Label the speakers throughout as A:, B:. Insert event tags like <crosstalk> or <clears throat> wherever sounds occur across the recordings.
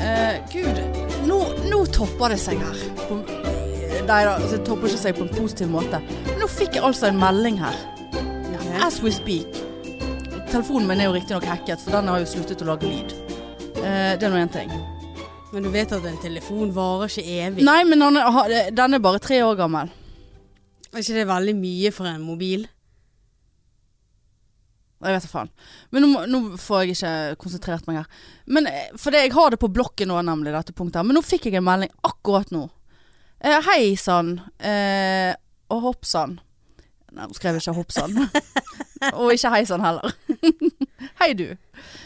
A: Eh, topper det seg her. På, nei da, altså, det topper ikke seg på en positiv måte. Men nå fikk jeg altså en melding her.
B: Altså-
A: As we speak. Telefonen min er jo riktignok hacket, for den har jo sluttet å lage lyd. Eh, det er nå én ting.
B: Men du vet at en telefon varer ikke evig.
A: Nei, men han er, ha- den er bare tre år gammel.
B: Er ikke det veldig mye for en mobil?
A: Jeg vet da faen. Men nå, må- nå får jeg ikke konsentrert meg her. Men, eh, for det, jeg har det på blokken nå, nemlig, dette punktet. her. Men nå fikk jeg en melding akkurat nå. Eh, hei sann. Eh, og hopp sann. Nei, hun skrev ikke hopp sann. og ikke hei sann heller. <laughs> hei, du.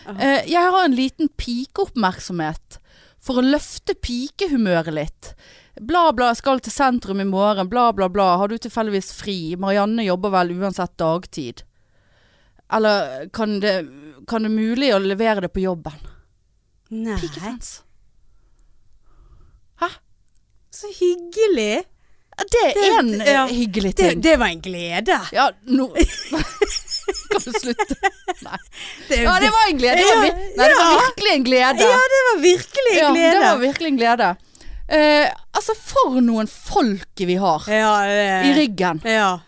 A: Eh, jeg har en liten pikeoppmerksomhet for å løfte pikehumøret litt. Bla, bla, skal til sentrum i morgen. Bla, bla, bla. Har du tilfeldigvis fri? Marianne jobber vel uansett dagtid. Eller kan det, kan det mulig å levere det på jobben?
B: Nei.
A: Pikefans.
B: Så hyggelig.
A: Det er en eh,
B: ja.
A: hyggelig
B: Det,
A: ting.
B: det var en glede.
A: Ja, nå <laughs> Kan du
B: <laughs>
A: slutte?
B: Det,
A: Ja, det var en glede. Det var, vir- nei, det var
B: Ja.
A: virkelig en glede.
B: Ja, det var virkelig en
A: Ja,
B: glede.
A: det var virkelig en glede. Eh, altså, for noen folke vi har
B: ja, det-
A: i ryggen. Altså,
B: Ja.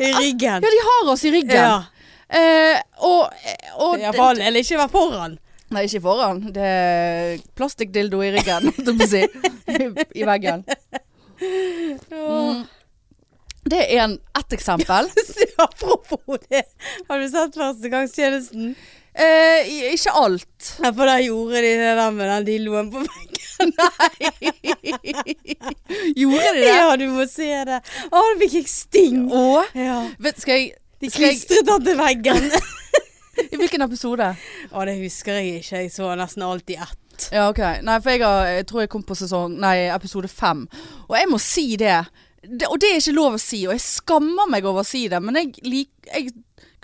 B: I ryggen.
A: Ja, de har oss i ryggen.
B: Ja.
A: Eh, og, og
B: I hvert fall, eller ikke vært foran.
A: Nei, ikke foran. Det er plastikkdildo i ryggen, holdt jeg på å
B: <laughs>
A: si. I veggen.
B: <laughs>
A: Mm. Det er en, ett <laughs> eksempel.
B: Apropos det, har du sett Førstegangstjenesten?
A: Eh, i- ikke alt.
B: Ja, for der gjorde de det der med den dildoen på veggen.
A: Gjorde <laughs> de det?
B: Ja, du må se det. Å, det fikk jeg sting.
A: Og
B: Ja.
A: vet, skal jeg,
B: De
A: skal jeg
B: klistret den til veggen. <laughs>
A: I <laughs> hvilken episode?
B: Å, det husker jeg ikke. Jeg så nesten alt i ett.
A: Ja, ok. Nei, for jeg, har, jeg tror jeg kom på sesong Nei, episode fem. Og jeg må si det. det. Og det er ikke lov å si, og jeg skammer meg over å si det, men jeg, lik, jeg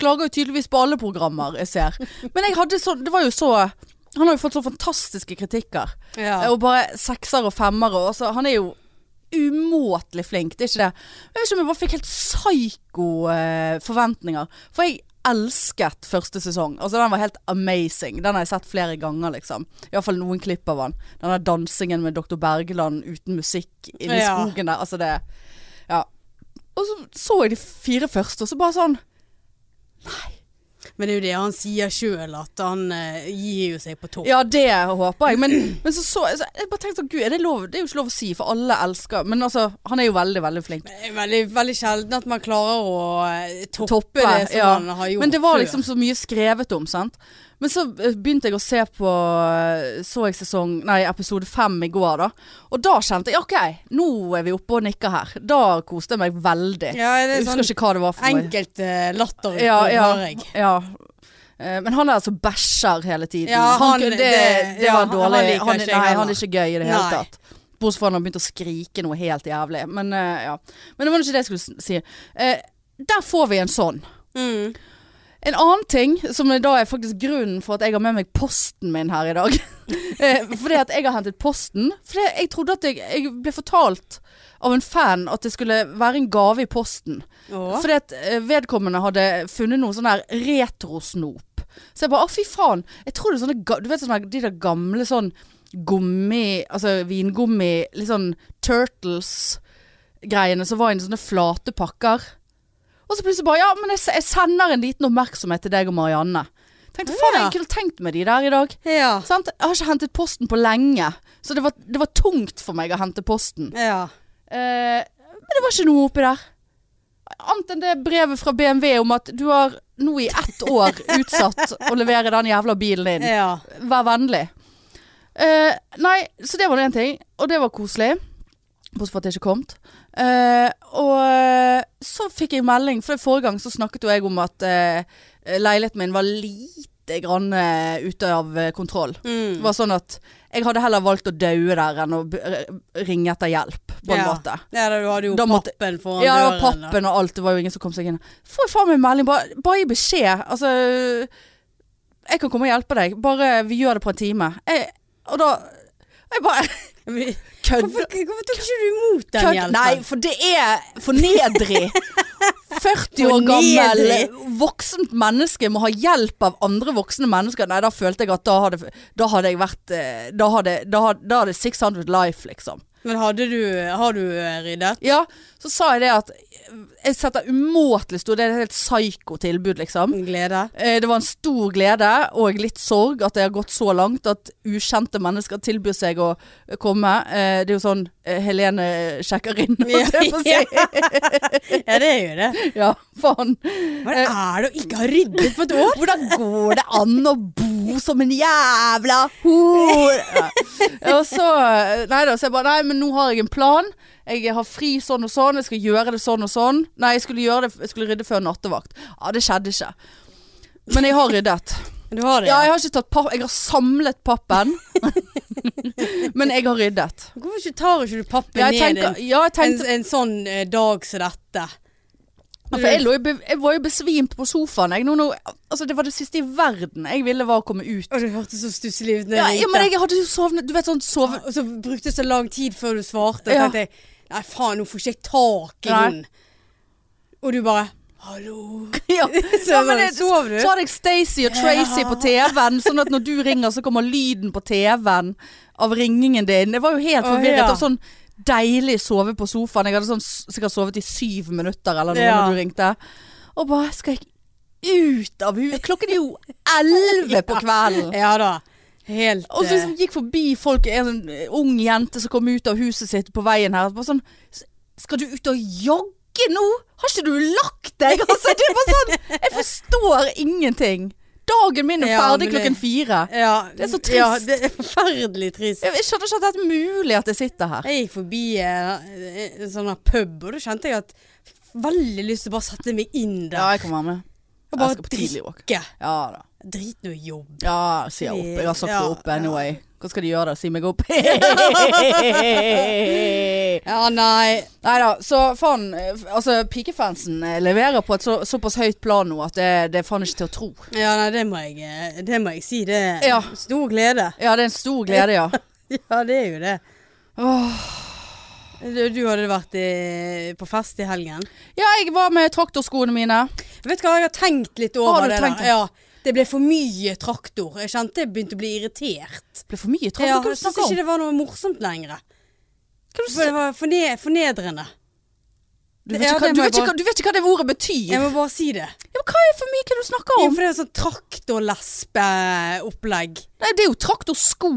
A: klager jo tydeligvis på alle programmer jeg ser. Men jeg hadde så Det var jo så Han har jo fått så fantastiske kritikker.
B: Ja.
A: Og bare sekser og femmere. og så- han er jo umåtelig flink, det er ikke det. Jeg vet ikke om jeg bare fikk helt psyko eh, forventninger. For jeg elsket første sesong. Altså Den var helt amazing. Den har jeg sett flere ganger, liksom. Iallfall noen klipp av han. Den der dansingen med Dr. Bergeland uten musikk inni
B: Ja.
A: skogen der. Altså det Ja. Og så så jeg de fire første, og så bare sånn
B: Men det er jo det han sier sjøl, at han eh, gir jo seg på topp.
A: Ja, det håper jeg. Men, men så, så, så jeg bare tenkte sånn, gud, er det lov? Det er jo ikke lov å si, for alle elsker Men altså, han er jo veldig, veldig flink.
B: Det er veldig, veldig sjelden at man klarer å eh, toppe,
A: Toppe,
B: det som
A: ja.
B: han har gjort
A: Men det var
B: før.
A: liksom så mye skrevet om, sant. Men så eh, begynte jeg å se på eh, Så jeg sesong Nei, episode fem i går, da. Og da kjente jeg OK, nå er vi oppe og nikker her. Da koste jeg meg veldig.
B: Ja, det
A: jeg
B: er
A: husker
B: sånn
A: ikke hva det var for noe.
B: enkelt eh, latter
A: Ja, ja,
B: har jeg.
A: ja. Eh, Men han er altså bæsjer hele tiden.
B: Ja, han-
A: kunne- det,
B: det-
A: det
B: ja,
A: var
B: han- han
A: dårlig.
B: liker
A: Han,
B: ikke jeg
A: nei, han
B: heller.
A: er ikke gøy i det hele
B: Nei.
A: tatt. Bortsett fra når han begynte å skrike noe helt jævlig. Men, eh, ja. Men det var ikke det jeg skulle s- si. Eh, Der får vi en sånn.
B: Mm.
A: En annen ting, som er da er faktisk grunnen for at jeg har med meg posten min her i dag. <laughs> Eh, fordi at jeg har hentet posten. Fordi jeg trodde at jeg, jeg ble fortalt av en fan at det skulle være en gave i posten.
B: Å.
A: Fordi at eh, vedkommende hadde funnet noe sånn der retrosnop. Så jeg bare, å fy faen. Jeg tror det er sånne, ga- du vet sånne, der- de der gamle sånn gummi, altså vingummi, litt sånn turtles-greiene som var i sånne flate pakker. Og så plutselig bare, ja, men jeg, s- jeg sender en liten oppmerksomhet til deg og Marianne. Tenkte, faen, jeg kunne tenkt med de der i dag.
B: Ja.
A: Sant? Jeg har ikke hentet posten på lenge, så det var, det var tungt for meg å hente posten.
B: ja.
A: Eh, men det var ikke noe oppi der. Annet enn det brevet fra BMW om at du har nå i ett år utsatt å levere den jævla bilen din.
B: ja.
A: Vær vennlig. Eh, nei, så det var nå én ting, og det var koselig. Bortsett fra at det ikke kom. Eh, og eh, så fikk jeg melding, for forrige gang så snakket jo jeg om at eh, leiligheten min var lite grann eh, ute av eh, kontroll.
B: Mm.
A: Det var sånn at jeg hadde heller valgt å daue der enn å b- ringe etter hjelp, på en
B: ja.
A: måte.
B: Ja, da, du hadde jo
A: Da måtte-
B: pappen foran
A: Ja, og
B: døren. da.
A: pappen og alt. Det var jo ingen som kom seg inn. Får jeg faen meg en melding. Bare, bare gi beskjed. Altså Jeg kan komme og hjelpe deg. Bare vi gjør det på en time. Jeg, og da Jeg bare
B: Men
A: kødder.
B: Hvorfor, hvorfor tok ikke du imot den
A: kødd-
B: hjelpen?
A: <laughs> Nei, for det er fornedrig. 40 år gammel voksent menneske må ha hjelp av andre voksne mennesker. Nei, da følte jeg at da hadde, da hadde jeg vært eh, Da hadde, da hadde, da hadde 600 life, liksom.
B: Men hadde du, har du eh, ryddet?
A: Ja, så sa jeg det at jeg setter umåtelig stor Det er et helt psyko tilbud, liksom.
B: Glede?
A: Eh, Det var en stor glede og litt sorg at det har gått så langt at ukjente mennesker tilbyr seg å komme. Eh, Det er jo sånn eh, Helene sjekker inn, holdt jeg på å si.
B: Ja, det er jo det.
A: Ja, faen.
B: Hva er det å ikke ha ryddet på et år?
A: Hvordan går det an å bo som en jævla hore? Ja. Og så Nei da, så jeg bare Nei, men nå har jeg en plan. Jeg har fri sånn og sånn. Jeg skal gjøre det sånn og sånn. Nei, jeg skulle, gjøre det, jeg skulle rydde før nattevakt. Ja, det skjedde ikke. Men jeg har ryddet.
B: <laughs> Du har det?
A: Ja, jeg har ikke tatt papp Jeg har samlet pappen. <laughs> men jeg har ryddet.
B: Hvorfor ikke tar ikke du pappen
A: Ja, jeg
B: ned
A: tenker, ja, jeg
B: en, en,
A: tenkte
B: en sånn eh, dag som dette?
A: Ja, For jeg, lå, jo be- jeg var jo besvimt på sofaen. Jeg, nå, nå, altså, det var det siste i verden jeg ville, var å komme ut.
B: Å, det hørtes så stusslig ut. når
A: Ja,
B: jeg
A: ja,
B: ringte.
A: men jeg hadde jo sovnet Du vet sånn sove...
B: <laughs> Og så brukte det så lang tid før du svarte.
A: Ja.
B: Ja. tenkte jeg nei, faen, nå får ikke jeg tak i
A: Nei.
B: hun. Og du bare hallo.
A: <laughs> Ja.
B: Så,
A: men det-
B: sov du?
A: Så hadde jeg Stacey og Tracy
B: Ja.
A: på TV-en, sånn at når du ringer, så kommer lyden på TV-en av ringingen din. Jeg var jo helt
B: Å,
A: forvirret.
B: ja.
A: Og sånn deilig sove på sofaen. Jeg hadde sånn, s- sikkert sovet i syv minutter eller noe
B: Ja.
A: når du ringte. Og bare skal jeg ut av huset? Klokken er
B: <laughs>
A: jo elleve på kvelden.
B: Ja da. Helt
A: Og så
B: eh,
A: liksom gikk forbi folk, en sånn ung jente som kom ut av huset sitt på veien her. Bare sånn "S- Skal du ut og jogge nå? Har ikke du lagt deg? <laughs> Altså, det er bare sånn Jeg forstår ingenting. Dagen min er
B: Ja,
A: ferdig
B: men det-
A: klokken fire.
B: eh, ja,
A: Det er så
B: Ja,
A: trist.
B: det er forferdelig trist.
A: Jeg, jeg skjønner ikke at det er mulig at jeg sitter her.
B: Jeg gikk forbi eh, en sånn her pub, og da kjente jeg at jeg fikk veldig lyst til å bare sette meg inn
A: Ja,
B: der.
A: jeg kan være med.
B: og
A: Jeg
B: bare
A: skal på tidlig walk.
B: drikke.
A: Ja da.
B: Drit nå i jobb.
A: Ja, si jeg opp. Jeg har sagt det
B: Ja,
A: opp anyway. Hva skal de gjøre da? Si meg <laughs> opp?
B: Ja, nei.
A: Nei da, så faen eh, f- Altså, pikefansen eh, leverer på et så, såpass høyt plan nå at det, det er faen ikke til å tro.
B: Ja, nei, det må jeg, eh, det må jeg si. Det er
A: Ja.
B: stor glede. <laughs>
A: Ja, det er en stor glede, ja.
B: Ja, det er jo det.
A: Åh.
B: Du, du hadde vært i, på fest i helgen.
A: Ja, jeg var med traktorskoene mine.
B: Vet du hva, jeg har tenkt litt
A: Har
B: over
A: du
B: det
A: tenkt det?
B: der. Ja, det ble for mye traktor. Jeg kjente jeg begynte å bli irritert.
A: Ble for mye traktor,
B: Ja,
A: hva er det du
B: jeg syns
A: snakker
B: ikke
A: om?
B: det var noe morsomt lenger.
A: Hva er det du
B: For det
A: sier?
B: var forne, fornedrende.
A: Du vet
B: Ja,
A: ikke hva-
B: det må
A: du
B: jeg
A: vet ikke
B: bare-
A: hva- du vet ikke hva det ordet betyr.
B: Jeg må bare si det.
A: Ja, men hva er for mye hva er det du snakker
B: Jo,
A: om?
B: for det er sånn traktorlespeopplegg.
A: Nei, det er jo traktorsko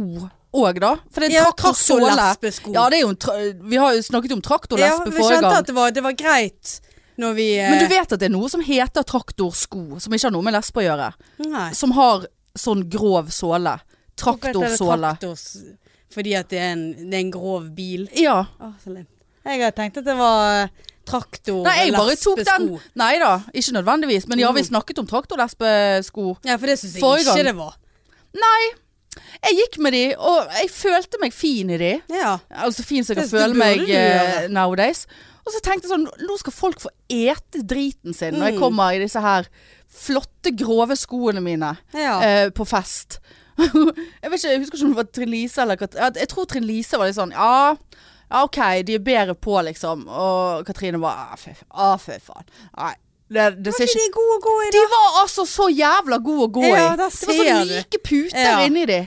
A: òg, da. For det er
B: Ja,
A: en traktorsåle.
B: traktorlesbesko.
A: Ja, det er jo en tra vi har jo snakket om
B: Ja,
A: traktorlesbe
B: vi
A: forrige
B: kjente
A: gang.
B: at det var, det var greit når vi eh,
A: Men du vet at det er noe som heter traktorsko, som ikke har noe med lesbe å gjøre.
B: Nei.
A: som har sånn grov såle.
B: Hvorfor heter det
A: Traktorsåle.
B: traktors? Fordi at det er en, det er en grov bil.
A: Ja.
B: Å, så lame. Jeg hadde tenkt at det var eh, traktor,
A: Nei, jeg bare tok den.
B: lesbesko. Mm.
A: Nei da, ikke nødvendigvis. Men ja, vi snakket om traktorlesbesko.
B: Ja, for det syns jeg
A: Forrige
B: ikke
A: gang.
B: det var.
A: Jeg gikk med de, og jeg følte meg fin i de.
B: Ja.
A: Altså fin som jeg kan
B: Det- det
A: føle
B: burde
A: meg
B: du
A: eh,
B: gjøre.
A: nowadays. Og så tenkte jeg sånn, nå skal folk få ete driten sin når jeg
B: Mm.
A: kommer i disse her flotte, grove skoene mine
B: ja.
A: eh, på fest. <laughs> jeg vet ikke, jeg husker ikke om det var Trine Lise eller Kat- ja, Jeg tror Trine Lise var litt sånn, ja... Ja, ok, de er bedre på liksom Og Katrine bare, ah, fy f- ah, fy faen Nei, det, det ser ikke
B: de gode å gå i,
A: De var altså så jævla gode å gå i
B: Ja, der
A: Det var
B: ser
A: sånn
B: du.
A: like puter
B: Ja.
A: inni de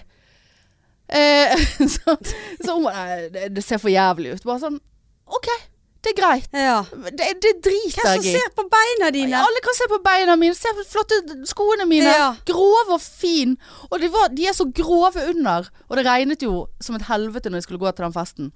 A: eh, <laughs> Så, så hun bare, nei, det, det ser for jævlig ut Bare sånn, ok, det er greit
B: Ja.
A: Det, det
B: Hvem
A: driter
B: som
A: jeg i
B: ser på beina dine?
A: alle kan se på beina mine, se på flotte skoene mine.
B: Ja.
A: Grove og fin. Og det var, de er så grove under. Og det regnet jo som et helvete når jeg skulle gå til den festen.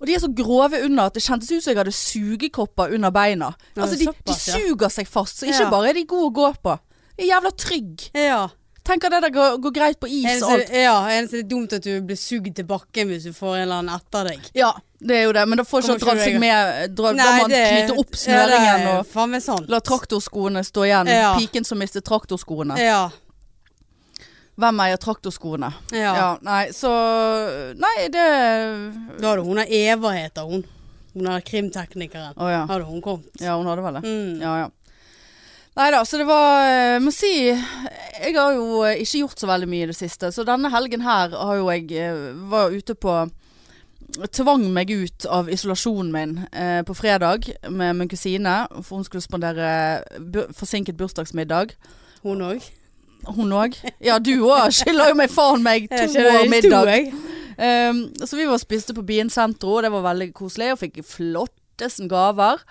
A: Og de er så grove under at det kjentes ut som jeg hadde sugekopper under beina.
B: Ja,
A: Altså, de, de
B: såpass, ja.
A: suger seg fast, så ikke
B: Ja.
A: bare er de gode å gå på. De er jævla trygg.
B: Ja.
A: Tenker det der går, går greit på is og
B: Eneste,
A: alt.
B: ja, eneste det er dumt at du blir sugd til bakken hvis du får en eller annen etter deg.
A: Ja, det er jo det, men da får ikke
B: Kommer
A: han dratt
B: ikke
A: seg
B: du-
A: med. Dra, da må han knyte opp snøringen
B: ja, det er
A: og
B: Faen meg sant.
A: la traktorskoene stå igjen.
B: Ja.
A: Piken som mistet traktorskoene.
B: Ja.
A: Hvem eier traktorskoene?
B: ja.
A: Ja. nei, så Nei, det
B: Da hadde hun Eva, heter hun. Hun er krimteknikeren.
A: Å ja.
B: Hadde hun kommet.
A: Ja, hun hadde vel det.
B: Mm.
A: Ja, ja. Nei da, så det var eh, Må si Jeg har jo eh, ikke gjort så veldig mye i det siste. Så denne helgen her har jo jeg eh, Var ute på tvang meg ut av isolasjonen min eh, på fredag med min kusine. For hun skulle spandere bu- forsinket bursdagsmiddag.
B: Hun òg.
A: Hun òg. Ja, du òg skylder jo meg faen meg to år middag. Um, så vi var og spiste på Bien Sentro, og det var veldig koselig. Og fikk flottesen gaver.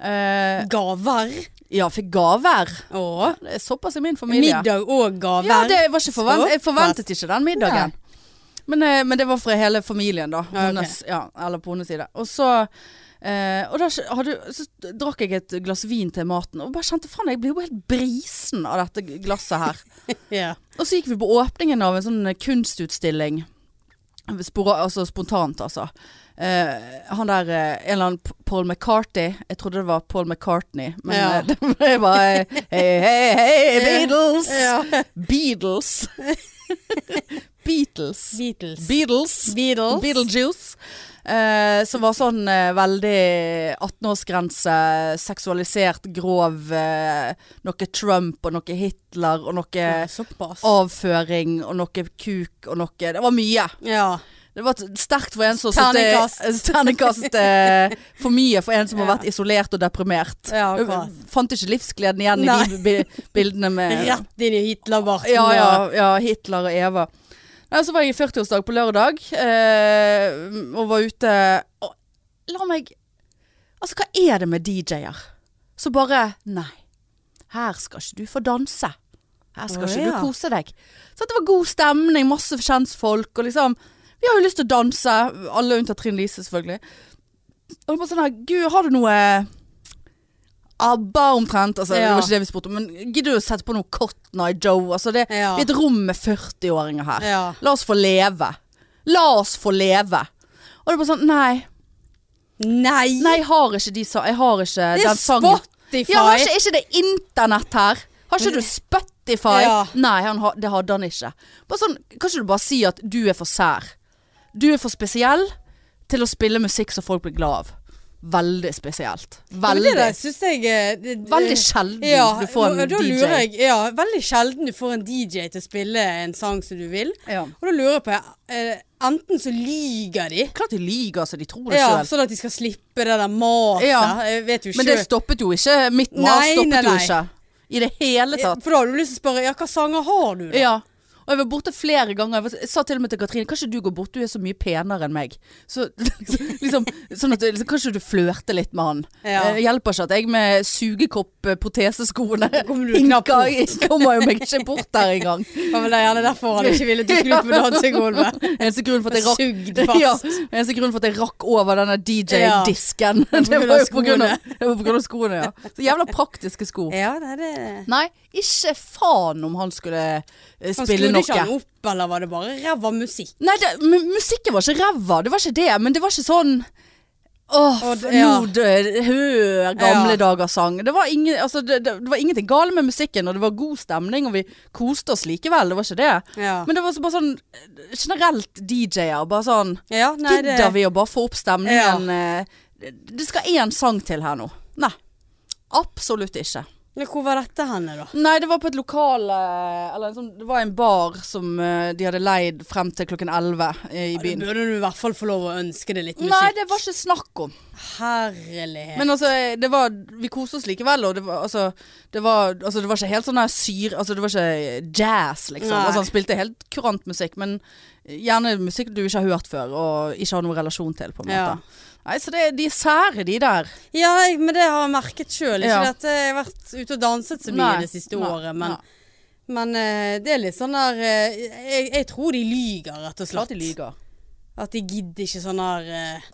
A: Eh,
B: Gaver.
A: ja, fikk gaver.
B: Å.
A: Det er såpass i min familie.
B: Middag og gaver.
A: Ja, det var ikke forvent jeg
B: Såpass.
A: forventet ikke den middagen. Men, eh, men det var fra hele familien, da.
B: Ja, ok.
A: Hennes, ja, eller på hennes side. Og så eh, og da sk- hadde, så drakk jeg et glass vin til maten, og bare kjente faen, jeg blir jo helt brisen av dette glasset her.
B: Ja.
A: Og så gikk vi på åpningen av en sånn kunstutstilling. Spora, altså spontant, altså. Eh, han der, eh, en eller annen P- Paul McCartney. Jeg trodde det var Paul McCartney, men
B: Ja.
A: eh, <laughs> det var eh, Hei, hei,
B: <laughs>
A: hei, Beatles!
B: Ja. <laughs>
A: Beatles. Beatles.
B: Beatles.
A: Beatles.
B: Beatles.
A: Beetlejuice. Eh, som var sånn eh, veldig 18-årsgrense, seksualisert, grov. Eh, noe Trump og noe Hitler og noe
B: Ja, Såpass.
A: avføring og noe kuk og noe Det var mye.
B: Ja.
A: Det var t- sterkt for en som <laughs>
B: Terningkast.
A: satt i- Terningkast eh, for mye for en som har
B: Ja.
A: vært isolert og deprimert.
B: Ja, akkurat.
A: Fant ikke livsgleden igjen
B: Nei.
A: i de bi- bildene
B: <laughs>
A: med
B: Rett inn i Hitlerbarten.
A: ja, ja, ja, Hitler og Eva. Nei, så var jeg i 40-årsdag på lørdag eh, og var ute og La meg Altså, hva er det med DJ-er? Så bare Nei. Her skal ikke du få danse. Her skal
B: Å,
A: ikke
B: ja.
A: du kose deg. Så det var god stemning, masse kjentfolk og liksom Vi har jo lyst til å danse, alle unntatt Trine Lise, selvfølgelig. Og bare sånn her Gud, har du noe ABBA omtrent? Altså,
B: Ja.
A: Det var ikke det vi spurte om, men gidder du å sette på noe Cotton Eye Joe? Altså, det,
B: Ja.
A: vi er et rom med 40-åringer her.
B: ja.
A: La oss få leve. La oss få leve. Og det er bare sånn Nei,
B: Nei!
A: nei jeg har ikke, de, sa- jeg har ikke
B: det er
A: den sangen.
B: Spotify!
A: Ja, har ikke, er ikke det internett her? Har ikke du Spotify?
B: Ja.
A: Nei, han har, det hadde han ikke. Bare sånn, kan ikke du bare si at du er for sær? Du er for spesiell til å spille musikk som folk blir glad av. Veldig spesielt.
B: Ja, men
A: Veldig,
B: Det der synes jeg eh, det, det-
A: veldig sjelden
B: ja,
A: du får en
B: og da
A: DJ.
B: Lurer jeg, ja, veldig sjelden du får en DJ til å spille en sang som du vil.
A: Ja.
B: Og da lurer jeg på eh, Enten så lyger de,
A: Klart de lyver, så de tror det
B: ja,
A: sjøl.
B: sånn at de skal slippe det der maset.
A: Ja.
B: Jeg vet jo
A: Men det
B: selv.
A: stoppet jo ikke. Mitt mas
B: Nei,
A: stoppet
B: nei,
A: jo
B: nei.
A: ikke. I det hele tatt.
B: For da har du lyst til å spørre Ja, hva sanger har du? da?
A: Ja. Og jeg var borte flere ganger. Jeg var- Jeg sa til og med til Katrine Kan ikke du gå bort, du er så mye penere enn meg. Så, <laughs> liksom, sånn at, liksom, kanskje du flørter litt med han.
B: Ja.
A: Eh, hjelper ikke at jeg med sugekopp-proteseskoene
B: <laughs> kommer
A: <laughs>
B: du knapt
A: kommer jo meg ikke bort der engang.
B: Det var vel det gjerne derfor han ikke ville at du skulle ut på
A: <laughs>
B: dansegulvet.
A: Eneste grunnen for at jeg rakk
B: Sugd fast.
A: <laughs> Ja, eneste grunnen for at jeg rakk over denne DJ-disken, <laughs> det
B: grunn av
A: var jo på grunn av, det var på grunn av skoene. Ja. Så jævla praktiske sko.
B: Ja, det er det.
A: Nei, ikke faen om han skulle eh,
B: Han
A: spille
B: skrudde ikke
A: noe.
B: han opp, eller var det bare ræva musikk?
A: Nei, det, mu- musikken var ikke ræva, det var ikke det, men det var ikke sånn Åh,
B: Og det-
A: f- nå dø- hør gamle
B: Ja.
A: dagers sang. Det var, ingen, altså, det, det, det var ingenting galt med musikken, og det var god stemning, og vi koste oss likevel, det var ikke det.
B: Ja.
A: Men det var så bare sånn eh, generelt DJ-er, bare sånn
B: ja nei, det,
A: Gidder vi å bare få opp stemningen? eh, Det skal én sang til her nå. Nei. Absolutt ikke.
B: Men hvor var dette henne, da?
A: Nei, det var på et lokale Eller en sånn, det var en bar som eh, de hadde leid frem til klokken 11 i
B: Da
A: byen.
B: burde du i hvert fall få lov å ønske deg litt musikk.
A: Nei, det var ikke snakk om.
B: Herlighet.
A: Men altså, det var Vi koste oss likevel, og det var altså Det var, altså, det var ikke helt sånn der syr... Altså, det var ikke jazz, liksom.
B: Nei.
A: Altså, han spilte helt kurant musikk, men gjerne musikk du ikke har hørt før, og ikke har noen relasjon til, på en måte.
B: Ja.
A: Nei, så det, de er sære, de der.
B: ja, jeg- men det har jeg merket sjøl. Ikke
A: Ja.
B: det at jeg har vært ute og danset så mye
A: Nei,
B: det siste
A: nei,
B: året, men,
A: nei.
B: men eh, det er litt sånn der eh, jeg, jeg tror de lyger, rett
A: Klart
B: og slett.
A: de lyver.
B: At de gidder ikke sånn der eh,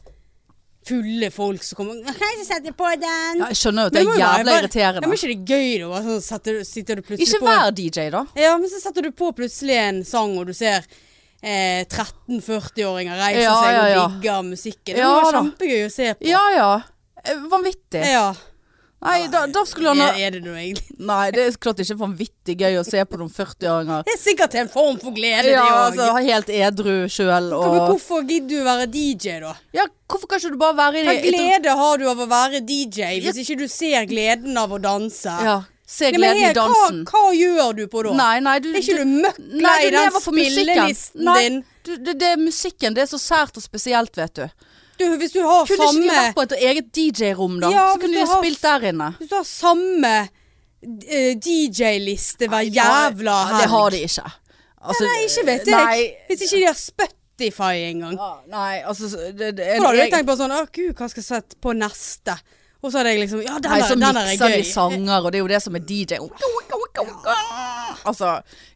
B: fulle folk som kommer Kan jeg ikke sette på den?
A: Ja, jeg skjønner jo at
B: Men
A: det
B: må
A: er
B: jo være-
A: jævla
B: bare- Ja,
A: irriterende.
B: men ikke det er gøy, da? bare Sånn, setter, sitter du plutselig
A: Ikke
B: på
A: vær DJ, da.
B: Ja, men så setter du på plutselig en sang, og du ser eh, 13-40-åringer reiser
A: Ja,
B: seg
A: ja, ja.
B: og digger musikken. Det
A: Ja,
B: var
A: da.
B: kjempegøy å se på.
A: Ja ja. Eh, Vanvittig.
B: Ja.
A: Nei, da, da skulle han
B: Er,
A: ha
B: er det noe egentlig?
A: Nei, det er klart ikke vanvittig gøy å se på noen 40-åringer.
B: Det er sikkert en form for glede,
A: Ja,
B: det
A: altså
B: òg.
A: helt edru sjøl
B: Men
A: og
B: hvorfor gidder du å være DJ, da?
A: Ja, hvorfor kan ikke du bare være i
B: Hva
A: i-
B: glede har du av å være DJ hvis ikke du ser gleden av å danse?
A: Ja, Se
B: Nei, men
A: gleden i
B: her,
A: dansen.
B: Hva, hva gjør du på da?
A: Nei, nei, du,
B: Er ikke du møkk
A: nei,
B: lei
A: du
B: den
A: lever for musikken.
B: spillelisten
A: Nei.
B: din?
A: du, det, det er musikken. Det er så sært og spesielt, vet du.
B: Du, hvis du har
A: Kunne ikke de
B: samme
A: vært på et eget DJ-rom, da?
B: Ja,
A: så kunne de
B: hvis du har-
A: spilt der inne.
B: Hvis du har samme eh, DJ-liste hver jævla
A: Ja,
B: helg
A: Det har de ikke. Altså,
B: Nei, ikke vet jeg.
A: nei,
B: Hvis ikke de har Spotify engang.
A: Ja, nei, altså så- det, det er
B: For da hadde jeg
A: jeg-
B: tenkt på sånn Å, gud, hva skal jeg sette på neste? Og så hadde jeg liksom Ja, den
A: Nei,
B: er,
A: så
B: den er
A: mikser
B: gøy.
A: de sanger, og det er jo det som er DJ. Altså,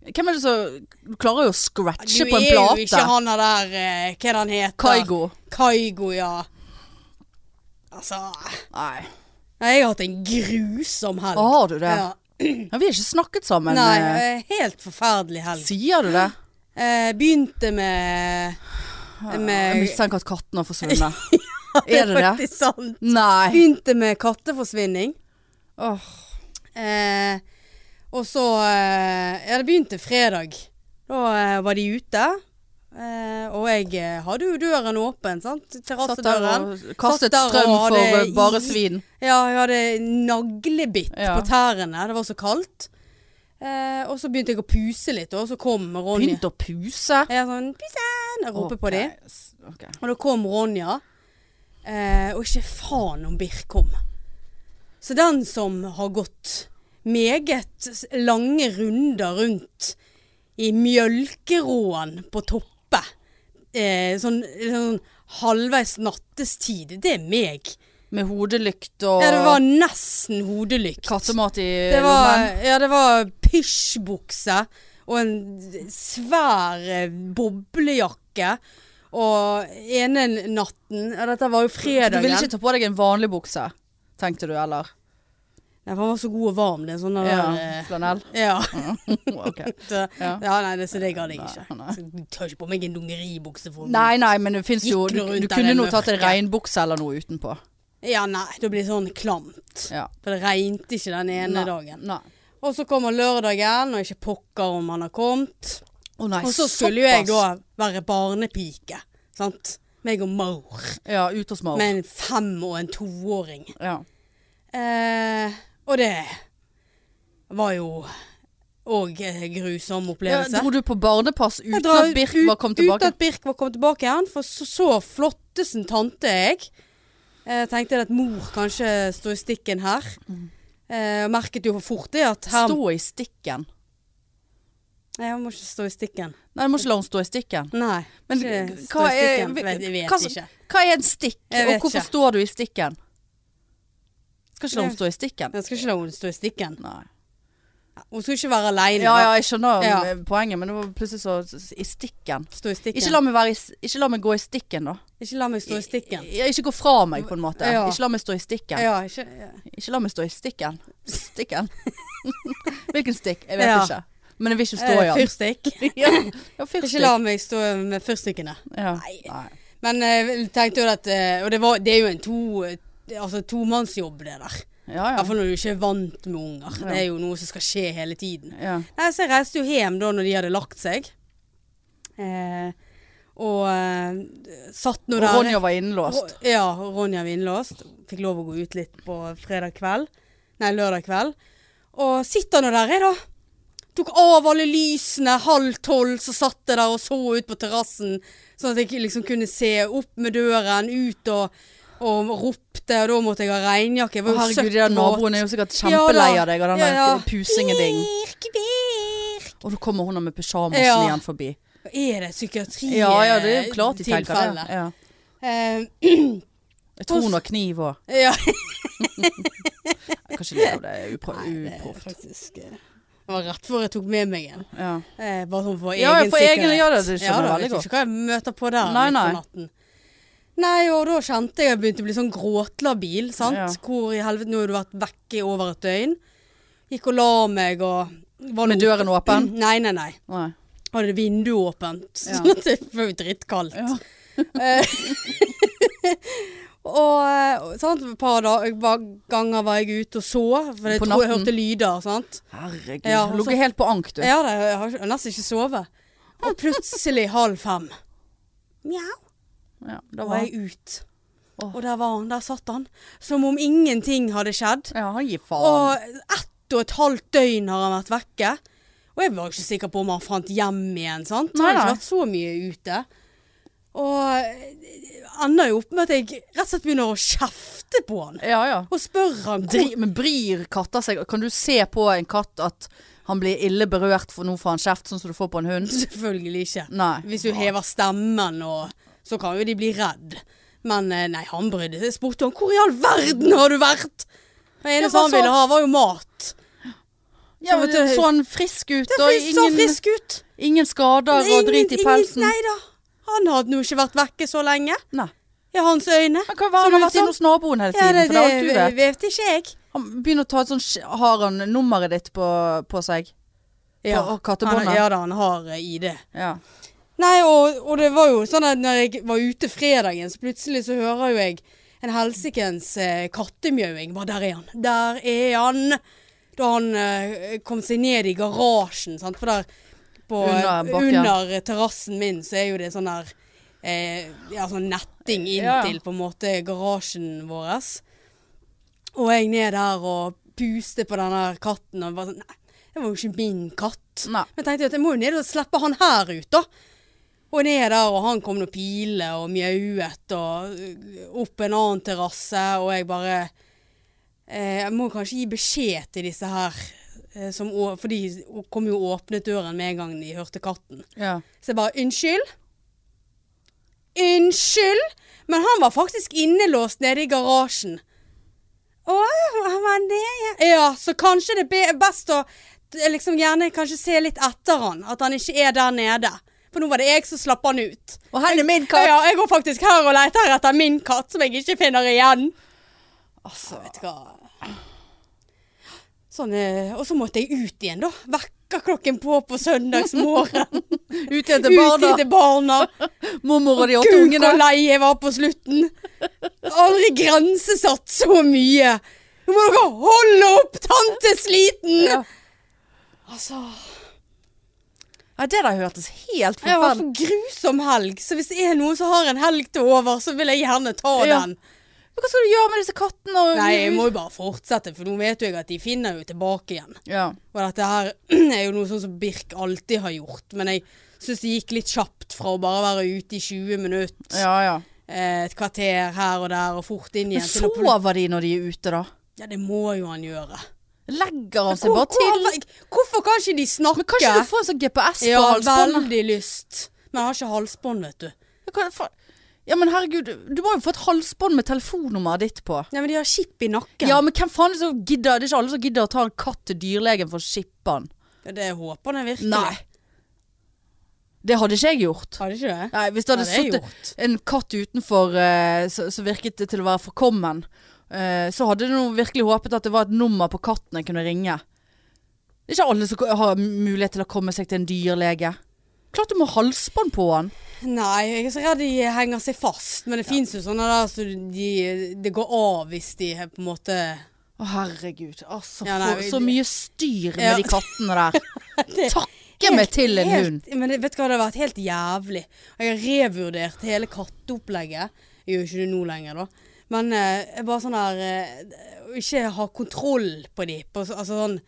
A: hvem er det som Du klarer jo å scratche på en
B: Du er jo ikke
A: plate.
B: han der eh, Hva er det han heter?
A: Kaigo.
B: Kaigo, ja. Altså
A: Nei.
B: Nei, jeg har hatt en grusom helg.
A: Å, har du det?
B: Ja.
A: Ja, vi har ikke snakket sammen.
B: Nei,
A: eh,
B: eh, helt forferdelig helg.
A: Sier du det?
B: Eh, begynte med
A: Jeg
B: Eh, med
A: mistenker at katten har forsvunnet. <laughs> er
B: <laughs>
A: det det?
B: faktisk sant.
A: Nei.
B: Begynte med katteforsvinning.
A: Åh,
B: Eh, og så eh, Ja, det begynte fredag. Da eh, var de ute. Eh, og jeg eh, hadde jo døren åpen, sant.
A: satt der
B: Terrassedøren.
A: og kastet
B: Satt der
A: strøm
B: og
A: for
B: hadde
A: eh, bare
B: i-
A: svin.
B: Ja, jeg hadde naglebitt
A: Ja.
B: på tærne. Det var så kaldt. Eh, og så begynte jeg å puse litt, og så kom Ronja.
A: Begynte å puse.
B: Jeg er sånn Pissen! Jeg roper på
A: Ok,
B: dem.
A: s- ok.
B: Og da kom Ronja. Eh, og ikke faen om Birk kom. Så den som har gått meget lange runder rundt i mjølkeråen på Toppe, eh, sånn, sånn halvveis nattestid, det er meg.
A: Med hodelykt og
B: Ja, det var nesten hodelykt.
A: kattemat i
B: Det var,
A: lommen.
B: ja, det var pysjbukse og en svær eh, boblejakke. Og ene natten ja, Dette var jo
A: Du
B: fredagen.
A: ville ikke ta på deg en vanlig bukse, tenkte du, eller?
B: Nei, for han var så god og varm. Det er sånn der,
A: Ja,
B: eh,
A: flanell. <laughs>
B: ja. <laughs>
A: Ok.
B: Så, ja.
A: Ja.
B: nei, det, så det gadd jeg ikke.
A: Nei, nei.
B: Så Du tar ikke på meg en dungeribukse for
A: Nei, nei, men det fins jo
B: Gikk
A: Du,
B: nå rundt
A: du
B: der
A: kunne
B: i
A: nå tatt en
B: mørket.
A: regnbukse eller noe utenpå.
B: Ja, nei, det blir sånn klamt.
A: Ja.
B: For det regnet ikke den ene
A: Nei,
B: dagen.
A: Nei.
B: Og så kommer lørdagen, og ikke pokker om han har kommet.
A: Å, nei,
B: Og så skulle jo jeg da
A: såpass.
B: være barnepike, sant? Meg og mor,
A: Ja, ut hos Maur.
B: med en fem- og en toåring.
A: Ja.
B: Eh, og det var jo òg en grusom
A: Ja,
B: opplevelse.
A: dro du på barnepass uten
B: Jeg drar
A: at Birk
B: ut-
A: var kommet tilbake?
B: Uten at Birk var kommet tilbake igjen, for så, så flottesen tante er jeg. Eh, tenkte at mor kanskje sto i stikken her. Eh, og merket jo fort det at her
A: Stå i stikken.
B: Nei, jeg må ikke stå i stikken.
A: Nei, du må ikke la henne stå i stikken.
B: Nei.
A: Men
B: ikke stå
A: hva
B: i
A: er,
B: stikken. Vet, jeg vet
A: hva,
B: ikke.
A: hva er en stikk,
B: Jeg
A: og
B: vet
A: hvorfor
B: ikke.
A: står du i stikken? Skal ikke la
B: Det-
A: henne stå i stikken?
B: Jeg skal ikke la henne stå i stikken.
A: Nei.
B: Hun skal ikke være alene.
A: Ja, ja,
B: da.
A: jeg skjønner
B: Ja.
A: eh, poenget, men det var plutselig så så- i stikken.
B: Stå i stikken.
A: Ikke la meg, være i, s- ikke la meg gå i stikken, da.
B: meg stå i stikken.
A: Ja, ikke gå fra meg, på en måte.
B: Ja.
A: Ikke la meg stå i stikken.
B: Ja, ikke, ja.
A: Ikke la meg stå i stikken. <laughs> Stikken. Hvilken stikk? Jeg vet
B: Ja.
A: ikke. Men jeg vil ikke stå i
B: Eh,
A: den.
B: Fyrstikk.
A: <laughs> Ja, ja fyrstikk.
B: Ikke la meg stå med fyrstikkene.
A: Ja.
B: Nei.
A: Nei.
B: Men eh, tenkte jo at eh, Og det, var, det er jo en to, altså, tomannsjobb, det der.
A: Ja, ja.
B: Iallfall når du ikke er vant med unger. Det er jo noe som skal skje hele tiden.
A: ja.
B: Nei, Så jeg reiste jo hjem da når de hadde lagt seg. Eh, og eh, satt nå
A: Og
B: der
A: Ronja var innlåst.
B: Ro- Ja, Ronja var innlåst. Fikk lov å gå ut litt på fredag kveld. Nei, lørdag kveld. Og sitter nå der jeg, da. Tok av alle lysene halv tolv, så satt jeg der og så ut på terrassen. Sånn at jeg liksom kunne se opp med døren, ut og, og ropte. Og da måtte jeg ha regnjakke. Jeg
A: Å,
B: var jo
A: herregud,
B: søkk
A: de der
B: våt.
A: naboene er jo sikkert kjempelei
B: Ja da.
A: av deg og den
B: Ja,
A: der
B: ja.
A: pusingen din.
B: Birk, Birk.
A: Og da kommer hun der med pysjamasen
B: Ja.
A: igjen forbi.
B: Er det psykiatri?
A: Ja, ja, det er jo klart de tenker det.
B: tilfelle?
A: Ja.
B: Eh,
A: Jeg tror hun har kniv òg.
B: ja.
A: Kanskje det er det er upro-
B: Det er
A: uproft.
B: faktisk eh, Det var rett før jeg tok med meg en.
A: Ja.
B: Eh, bare sånn for
A: Ja,
B: egen
A: for egen-
B: sikkerhet.
A: ja, det- det skjønner jeg
B: da,
A: veldig
B: vet Ikke hva jeg møter på der
A: Nei,
B: midt
A: nei.
B: på natten. Nei, og da kjente jeg at jeg begynte å bli sånn gråtlabil, sant.
A: Ja.
B: Hvor i helvete, nå har du vært vekke i over et døgn. Gikk og la meg og var
A: Med døren åpen?
B: <clears throat> Nei, nei, nei.
A: Nei.
B: Hadde vinduet åpent. <laughs>
A: Ja.
B: Sånn at det var jo drittkaldt. <laughs> Eh,
A: Ja.
B: Og eh, sant, et par da, et par ganger var jeg ute og så, for jeg
A: På
B: tror jeg
A: natten?
B: hørte lyder, sant.
A: Herregud.
B: Ja,
A: hun
B: og så-
A: ligger helt på ank, du.
B: Ja, da, jeg har ikke- nesten ikke sovet. Og plutselig halv fem. Mjau.
A: Ja,
B: Da
A: da
B: var
A: var
B: jeg ut.
A: Åh.
B: Og der var han, der satt han. Som om ingenting hadde skjedd.
A: Ja, han gir faen.
B: Og ett ett og et halvt døgn har han vært vekke. Og jeg var ikke sikker på om han fant hjem igjen, sant. Han
A: Nei,
B: har ikke
A: nei.
B: vært så mye ute. Og ender jo opp med at jeg rett og slett begynner å kjefte på han.
A: Ja, ja.
B: Og spør han hvor
A: Dri, men bryr katter seg? Kan du se på en katt at han blir ille berørt for noe får han kjeft, sånn som du får på en hund?
B: Selvfølgelig ikke.
A: Nei.
B: Hvis du hever stemmen og Så kan jo de bli redd. Men eh, nei, han brydde Jeg spurte han hvor i all verden har du vært? Det
A: Ja,
B: eneste
A: hva
B: han
A: så?
B: ville ha, var jo mat.
A: Ja,
B: Så
A: men
B: vet du-
A: så han frisk ut,
B: Det
A: og
B: så
A: ingen,
B: frisk ut.
A: ingen skader og drit i pelsen?
B: Nei da. Han hadde nå ikke vært vekke så lenge.
A: Nei.
B: I hans øyne.
A: Han kan
B: Så
A: være han
B: det
A: har
B: var
A: vært inne
B: sånn-
A: hos naboen hele tiden, for det er alt du vet.
B: vet ikke jeg.
A: Han begynner å ta et sånt sk- Har han nummeret ditt på, på seg?
B: Ja,
A: På kattebåndet.
B: han- Ja da, han har eh, ID.
A: Ja.
B: Nei, og, og det var jo sånn at når jeg var ute fredagen, så plutselig så hører jo jeg en helsikens eh, kattemjauing. Bare der er han. Der er han. Da han eh, kom seg ned i garasjen, sant. For der på, eh,
A: Under
B: under,
A: bakken.
B: terrassen min så er jo det sånn der eh, Ja, sånn netting
A: Ja, ja.
B: inntil på en måte garasjen vår. Og jeg ned der og puste på den der katten og bare sånn Nei, det var jo ikke min katt.
A: Nei.
B: Men jeg tenkte jo at jeg må jo ned og slippe han her ut, da. Og ned der, og han kom nå pile og mjauet, og øh, opp en annen terrasse, og jeg bare eh, Jeg må kanskje gi beskjed til disse her, eh, som, å- for de kom jo og åpnet døren med en gang de hørte katten.
A: ja.
B: Så jeg bare Unnskyld? Unnskyld? Men han var faktisk innelåst nede i garasjen. Å, han var det, ja. Ja, så kanskje det er be- best å eh, liksom gjerne kanskje se litt etter han. At han ikke er der nede. For nå var det jeg som slapp han ut.
A: Og her er min katt!
B: Ja, jeg går faktisk her og leter etter min katt som jeg ikke finner igjen.
A: Altså,
B: Vet du hva. Sånn, eh, og så måtte jeg ut igjen, da. Vekkerklokken på på <laughs> søndagsmorgen.
A: ut igjen
B: ut
A: til barna.
B: til barna.
A: Mormor og de åtte
B: Gud,
A: ungene.
B: hvor lei jeg var på slutten. Aldri grensesatt så mye. Nå må dere holde opp, tante sliten!
A: Ja.
B: Altså
A: Ja, det der hørtes helt
B: Det var
A: forferdelig
B: en grusom helg, så hvis det er noen som har en helg til over, så vil jeg gjerne ta
A: Ja.
B: den.
A: Men Hva skal du gjøre med disse kattene? Og...
B: Nei, jeg må jo bare fortsette, for nå vet jo jeg at de finner jo tilbake igjen.
A: ja.
B: Og dette her <clears throat> er jo noe sånn som Birk alltid har gjort, men jeg syns det gikk litt kjapt fra å bare være ute i 20 minutter,
A: ja, ja.
B: eh, et kvarter her og der, og fort inn
A: Men
B: igjen. til å plut-
A: sover de når de er ute, da?
B: Ja, det må jo han gjøre.
A: Legger han seg
B: Hvor-
A: bare til?
B: Hvorfor, hvorfor kan ikke de snakke?
A: Men kanskje du får en sånn GPS på
B: ja,
A: halsbåndet?
B: veldig lyst. Men jeg har ikke halsbånd, vet du.
A: Ja, kan- fa- Ja, men herregud, du må jo få et halsbånd med telefonnummeret ditt på.
B: Nei, men de har chip i nakken.
A: Ja, men hvem faen er det som gidder? Det er ikke alle som gidder å ta en katt til dyrlegen for å shippe han.
B: Ja, det håper jeg virkelig.
A: Nei. Det hadde ikke jeg gjort.
B: Har de ikke det?
A: Nei, hvis det hadde
B: Ja, det er
A: sittet en katt utenfor eh, så- som virket det til å være forkommen, eh, så hadde jeg nå virkelig håpet at det var et nummer på katten jeg kunne ringe. Det er ikke alle som ko- har mulighet til å komme seg til en dyrlege. Klart du må ha halsbånd på han.
B: Nei, jeg er så redd de henger seg fast. Men det fins jo sånne der så de, det går av hvis de er på en måte
A: Å herregud, altså
B: Ja, nei,
A: for,
B: vi-
A: så mye styr med
B: Ja.
A: de kattene <laughs> der.
B: Det-
A: Takke meg til en
B: helt,
A: hund.
B: Men det- vet du hva, det har vært helt jævlig. Og jeg har revurdert hele katteopplegget. Jeg gjør jo ikke det nå lenger, da. Men eh, jeg er bare sånn her eh, Å Ikke ha kontroll på de. På, så- altså sånn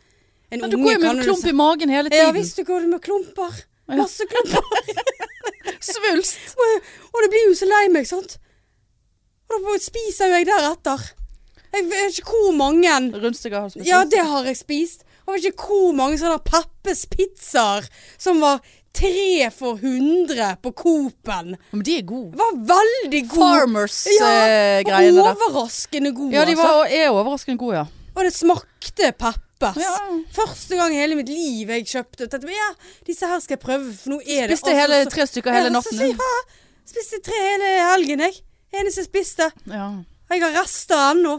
B: En
A: Men du går jo med en
B: jo
A: klump
B: se-
A: i magen hele
B: Ja
A: tiden.
B: visst, du går med klumper.
A: Ja.
B: Masse klumper. <laughs>
A: Svulst.
B: og, og det blir jo så lei meg, sant. Og da bare spiser jo jeg deretter. Jeg vet ikke hvor mange
A: Rundstykker har spist.
B: Ja, det har jeg spist. Og jeg vet ikke hvor mange sånne Peppes pizzaer som var tre for 100 på Coop-en.
A: Men de er gode.
B: Var veldig gode.
A: Farmers-greiene
B: ja,
A: eh, der.
B: overraskende gode.
A: Ja, de var, er overraskende gode, altså. ja.
B: altså. Og det smakte Peppes.
A: Ja.
B: Første gang i hele mitt liv jeg kjøpte dette. Men ja, disse her skal jeg prøve, for nå er det altså
A: Spiste hele,
B: så-
A: tre stykker hele
B: Ja, så
A: natten.
B: sier jeg, Ja, spiste tre hele helgen, jeg. Eneste jeg spiste.
A: Ja.
B: Og Jeg har rester ennå.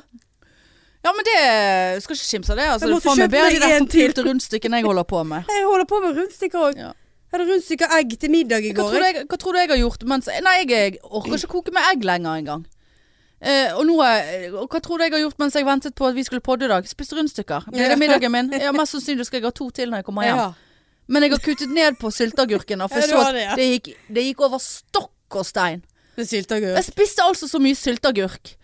A: ja, men det skal ikke kimse av det. Altså,
B: Jeg
A: du
B: måtte
A: får meg
B: kjøpe
A: bedre
B: meg
A: de der
B: en til.
A: forpulte rundstykkene jeg holder på med.
B: Jeg holder på med rundstykker og
A: Ja.
B: Jeg hadde rundstykker og egg til middag
A: <laughs>
B: i
A: Hva
B: går.
A: tror, du
B: jeg.
A: jeg, hva tror du jeg har gjort? Mens, nei, jeg orker ikke koke med egg lenger engang. Eh, og, nå, er- og hva tror du jeg har gjort mens jeg ventet på at vi skulle podde i dag? Spiste rundstykker. Blir det middagen min? <laughs> Ja, Mest sannsynlig skal jeg ha to til når jeg kommer hjem.
B: Ja.
A: Men jeg har kuttet ned på sylteagurkene, for jeg
B: Ja, du
A: så at
B: har det, ja.
A: det gikk, det gikk over stokk og stein.
B: Med sylteagurk.
A: Jeg spiste altså så mye sylteagurk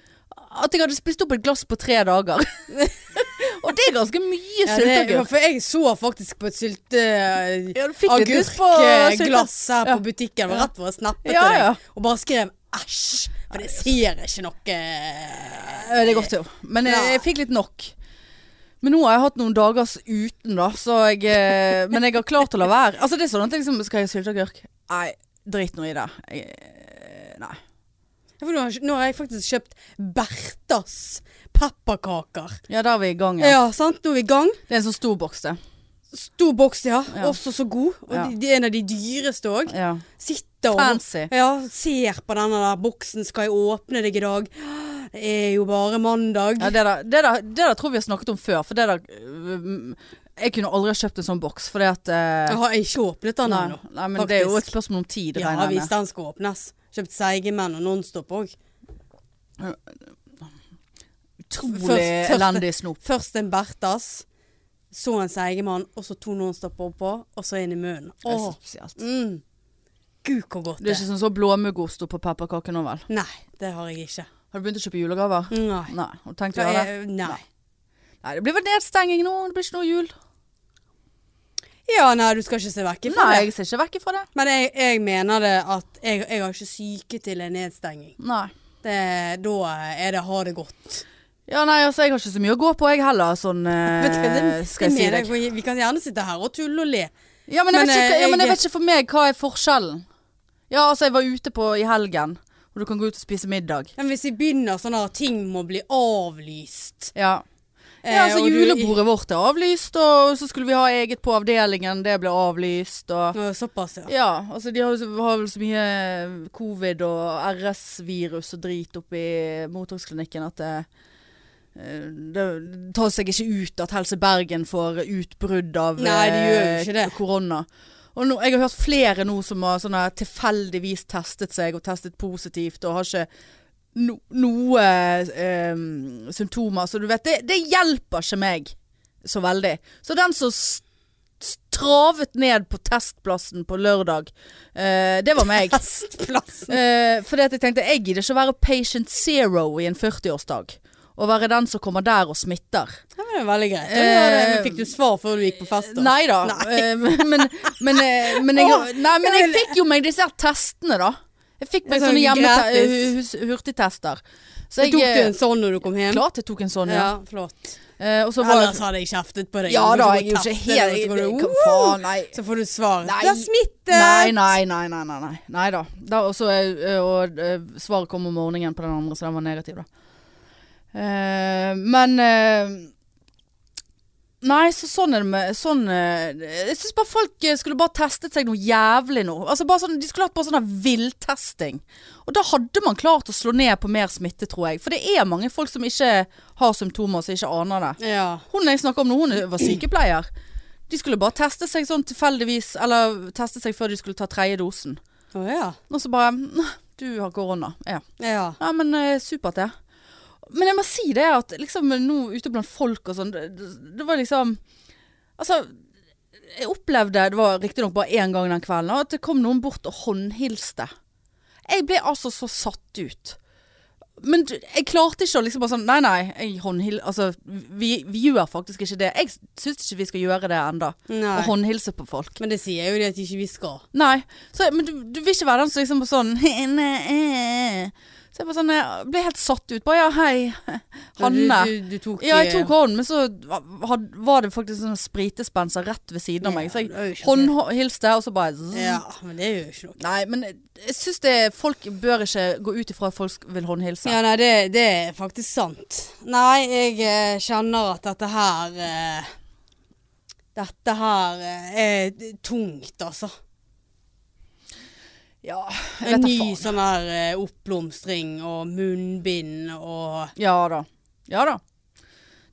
A: at jeg hadde spist opp et glass på tre dager. <laughs> Og det er ganske mye
B: Ja, det,
A: sylteagurk.
B: for jeg så faktisk på et eh, sylteagurkglass
A: Ja, du fikk litt lyst på sylte-
B: eh, her
A: Ja.
B: på butikken. Det var
A: Ja.
B: rett hvor jeg snappet
A: Ja,
B: til
A: ja.
B: deg og bare skrev 'æsj', for det ser ikke noe
A: Eh, Det er godt, jo. Men jeg,
B: Ja.
A: jeg fikk litt nok. Men nå har jeg hatt noen dagers uten, da. Så jeg, eh, men jeg har klart å la være. Altså, det er sånn at jeg liksom, Skal jeg ha sylteagurk? Nei, drit nå i det. Jeg, eh, nei.
B: Ja, for nå har, nå har jeg faktisk kjøpt Berthas pepperkaker.
A: Ja, da er vi i gang.
B: Ja.
A: Ja.
B: sant? Nå er vi i gang.
A: Det er en sånn stor boks, det.
B: Stor boks, ja.
A: Ja.
B: Også så god. Og
A: Ja.
B: de, de er en av de dyreste òg.
A: Ja.
B: Sitter og
A: Fancy.
B: ja, ser på denne der boksen. Skal jeg åpne deg i dag? Det er jo bare mandag.
A: Ja, det, der, det, der, det der tror vi har snakket om før. For det der øh, Jeg kunne aldri ha kjøpt en sånn boks. Fordi at eh,
B: jeg har ikke åpnet den
A: nei,
B: ennå.
A: nei, men Det er jo
B: faktisk.
A: et spørsmål om tid,
B: Ja
A: regner jeg med.
B: hvis den skal åpnes. Kjøpt seige menn og Nonstop òg.
A: Utrolig
B: Først- først-
A: elendig snop.
B: Først en Berthas, så en seige mann, og så to Nonstop oppå, og så inn i munnen.
A: Det er
B: Åh,
A: spesielt.
B: mm. Gud, hvor godt
A: Det
B: det
A: er
B: er.
A: ikke sånn så blåmuggost oppå pepperkake nå, vel?
B: Nei, det har jeg ikke.
A: Har du begynt å kjøpe julegaver?
B: Nei.
A: Nei. Har du tenkt å
B: Hva
A: gjøre det?
B: er, nei.
A: Nei, det blir vel nedstenging nå. Det blir ikke noe jul.
B: Ja, nei, du skal ikke se vekk ifra
A: Nei,
B: det.
A: jeg ser ikke vekk ifra det.
B: Men jeg, jeg mener det at jeg, jeg har ikke syke til en nedstenging.
A: Nei.
B: Det, da er det ha det godt.
A: Ja, nei, altså, jeg har ikke så mye å gå på, jeg heller.
B: <laughs>
A: Sånn, eh,
B: Vet du hva, det-
A: skal jeg
B: det
A: si
B: mener
A: deg.
B: jeg, Vi kan gjerne sitte her og tulle og le.
A: Ja, men jeg,
B: Men,
A: vet ikke,
B: eh,
A: ja, men jeg
B: jeg-
A: vet ikke for meg hva er forskjellen. Ja, altså jeg var ute på i helgen, og du kan gå ut og spise middag.
B: Men hvis vi begynner sånn at ting må bli avlyst
A: Ja,
B: eh,
A: ja altså
B: og du-
A: julebordet vårt er avlyst, og så skulle vi ha eget på avdelingen, det ble avlyst, og...
B: Å, Såpass, ja.
A: Ja, altså de har, jo så- har vel så mye covid og RS-virus og drit oppe i mottaksklinikken at det, eh, det tar seg ikke ut at Helse Bergen får utbrudd av
B: Nei, de gjør jo
A: eh,
B: ikke det.
A: korona. Og nå, jeg har hørt flere nå som har sånne tilfeldigvis testet seg og testet positivt og har ikke no, noe eh, symptomer. Så du vet, det, det hjelper ikke meg så veldig. Så den som s- stravet ned på testplassen på lørdag, eh, det var
B: <laughs>
A: meg.
B: Festplassen.
A: Eh, fordi at jeg tenkte, jeg gidder ikke å være patient zero i en 40-årsdag. Og være den som kommer der og smitter.
B: Ja, men det er veldig greit.
A: Eh,
B: Ja, det- men fikk du svar før du gikk på fest? da?
A: Nei da. eh, Men, men, eh, men, jeg,
B: Åh,
A: nei, men jeg
B: jeg vil-
A: fikk jo meg disse her testene, da. Jeg fikk meg
B: Sånn
A: sånne hjemme
B: gratis.
A: hus- hurtigtester. Så jeg
B: Jeg tok du en
A: eh,
B: sånn når du kom hjem?
A: Klart jeg tok en sånn, ja.
B: Ja, flott.
A: Eh, og så var
B: Ellers hadde jeg kjeftet på deg.
A: Ja
B: Du
A: da,
B: går
A: jeg er jo ikke
B: og tester
A: helt
B: det, og så går du,
A: hva
B: «Wow!»
A: faen, nei.
B: Så får du svar.
A: Nei.
B: Det er smittet!
A: Nei, nei, nei, nei, nei, nei. nei da. da og så, eh, og eh, svaret kom om morgenen på den andre, så den var negativ, da. Eh, men eh, Nei, så sånn er det med sånn, eh, Jeg syns bare folk eh, skulle bare testet seg noe jævlig nå. Altså bare sånn, de skulle hatt bare sånn der villtesting. Og da hadde man klart å slå ned på mer smitte, tror jeg. For det er mange folk som ikke har symptomer, som ikke aner det.
B: Ja.
A: Hun jeg snakker om nå, hun var sykepleier. De skulle bare teste seg sånn tilfeldigvis, eller teste seg før de skulle ta tredje dosen.
B: Å ja.
A: Og så bare «Nå, Du har korona. Ja,
B: Ja.
A: ja men eh, supert, det. Men jeg må si det at liksom nå ute blant folk og sånn, det, det- det var liksom Altså, jeg opplevde, det var riktignok bare én gang den kvelden, at det kom noen bort og håndhilste. Jeg ble altså så satt ut. Men du- jeg klarte ikke å liksom bare sånn Nei, nei, jeg håndhil... Altså, vi, vi gjør faktisk ikke det. Jeg syns ikke vi skal gjøre det enda. Å
B: Nei.
A: håndhilse på folk.
B: Men det sier jo det at ikke vi skal.
A: Nei. Så, men du, du vil ikke være den som liksom bare sånn <laughs> «Nei, eh». Så jeg bare sånn Jeg ble helt satt ut. Bare ja, hei. <laughs> Hanne.
B: Du, du, du tok eh,
A: Ja, jeg tok hånden, men så had, var det faktisk sånn spritespenser rett ved siden av meg. Så
B: Ja, det er jo
A: jeg
B: ikke
A: håndhilste, og så bare
B: Ja, men det er jo ikke noe.
A: Nei, men jeg syns folk bør ikke gå ut ifra at folk vil håndhilse.
B: Ja, nei, det, det er faktisk sant. Nei, jeg eh, kjenner at dette her eh, Dette her eh, er tungt, altså.
A: Ja, jeg
B: En
A: vet da
B: ny
A: faen.
B: sånn her eh, oppblomstring og munnbind og
A: Ja da. Ja da.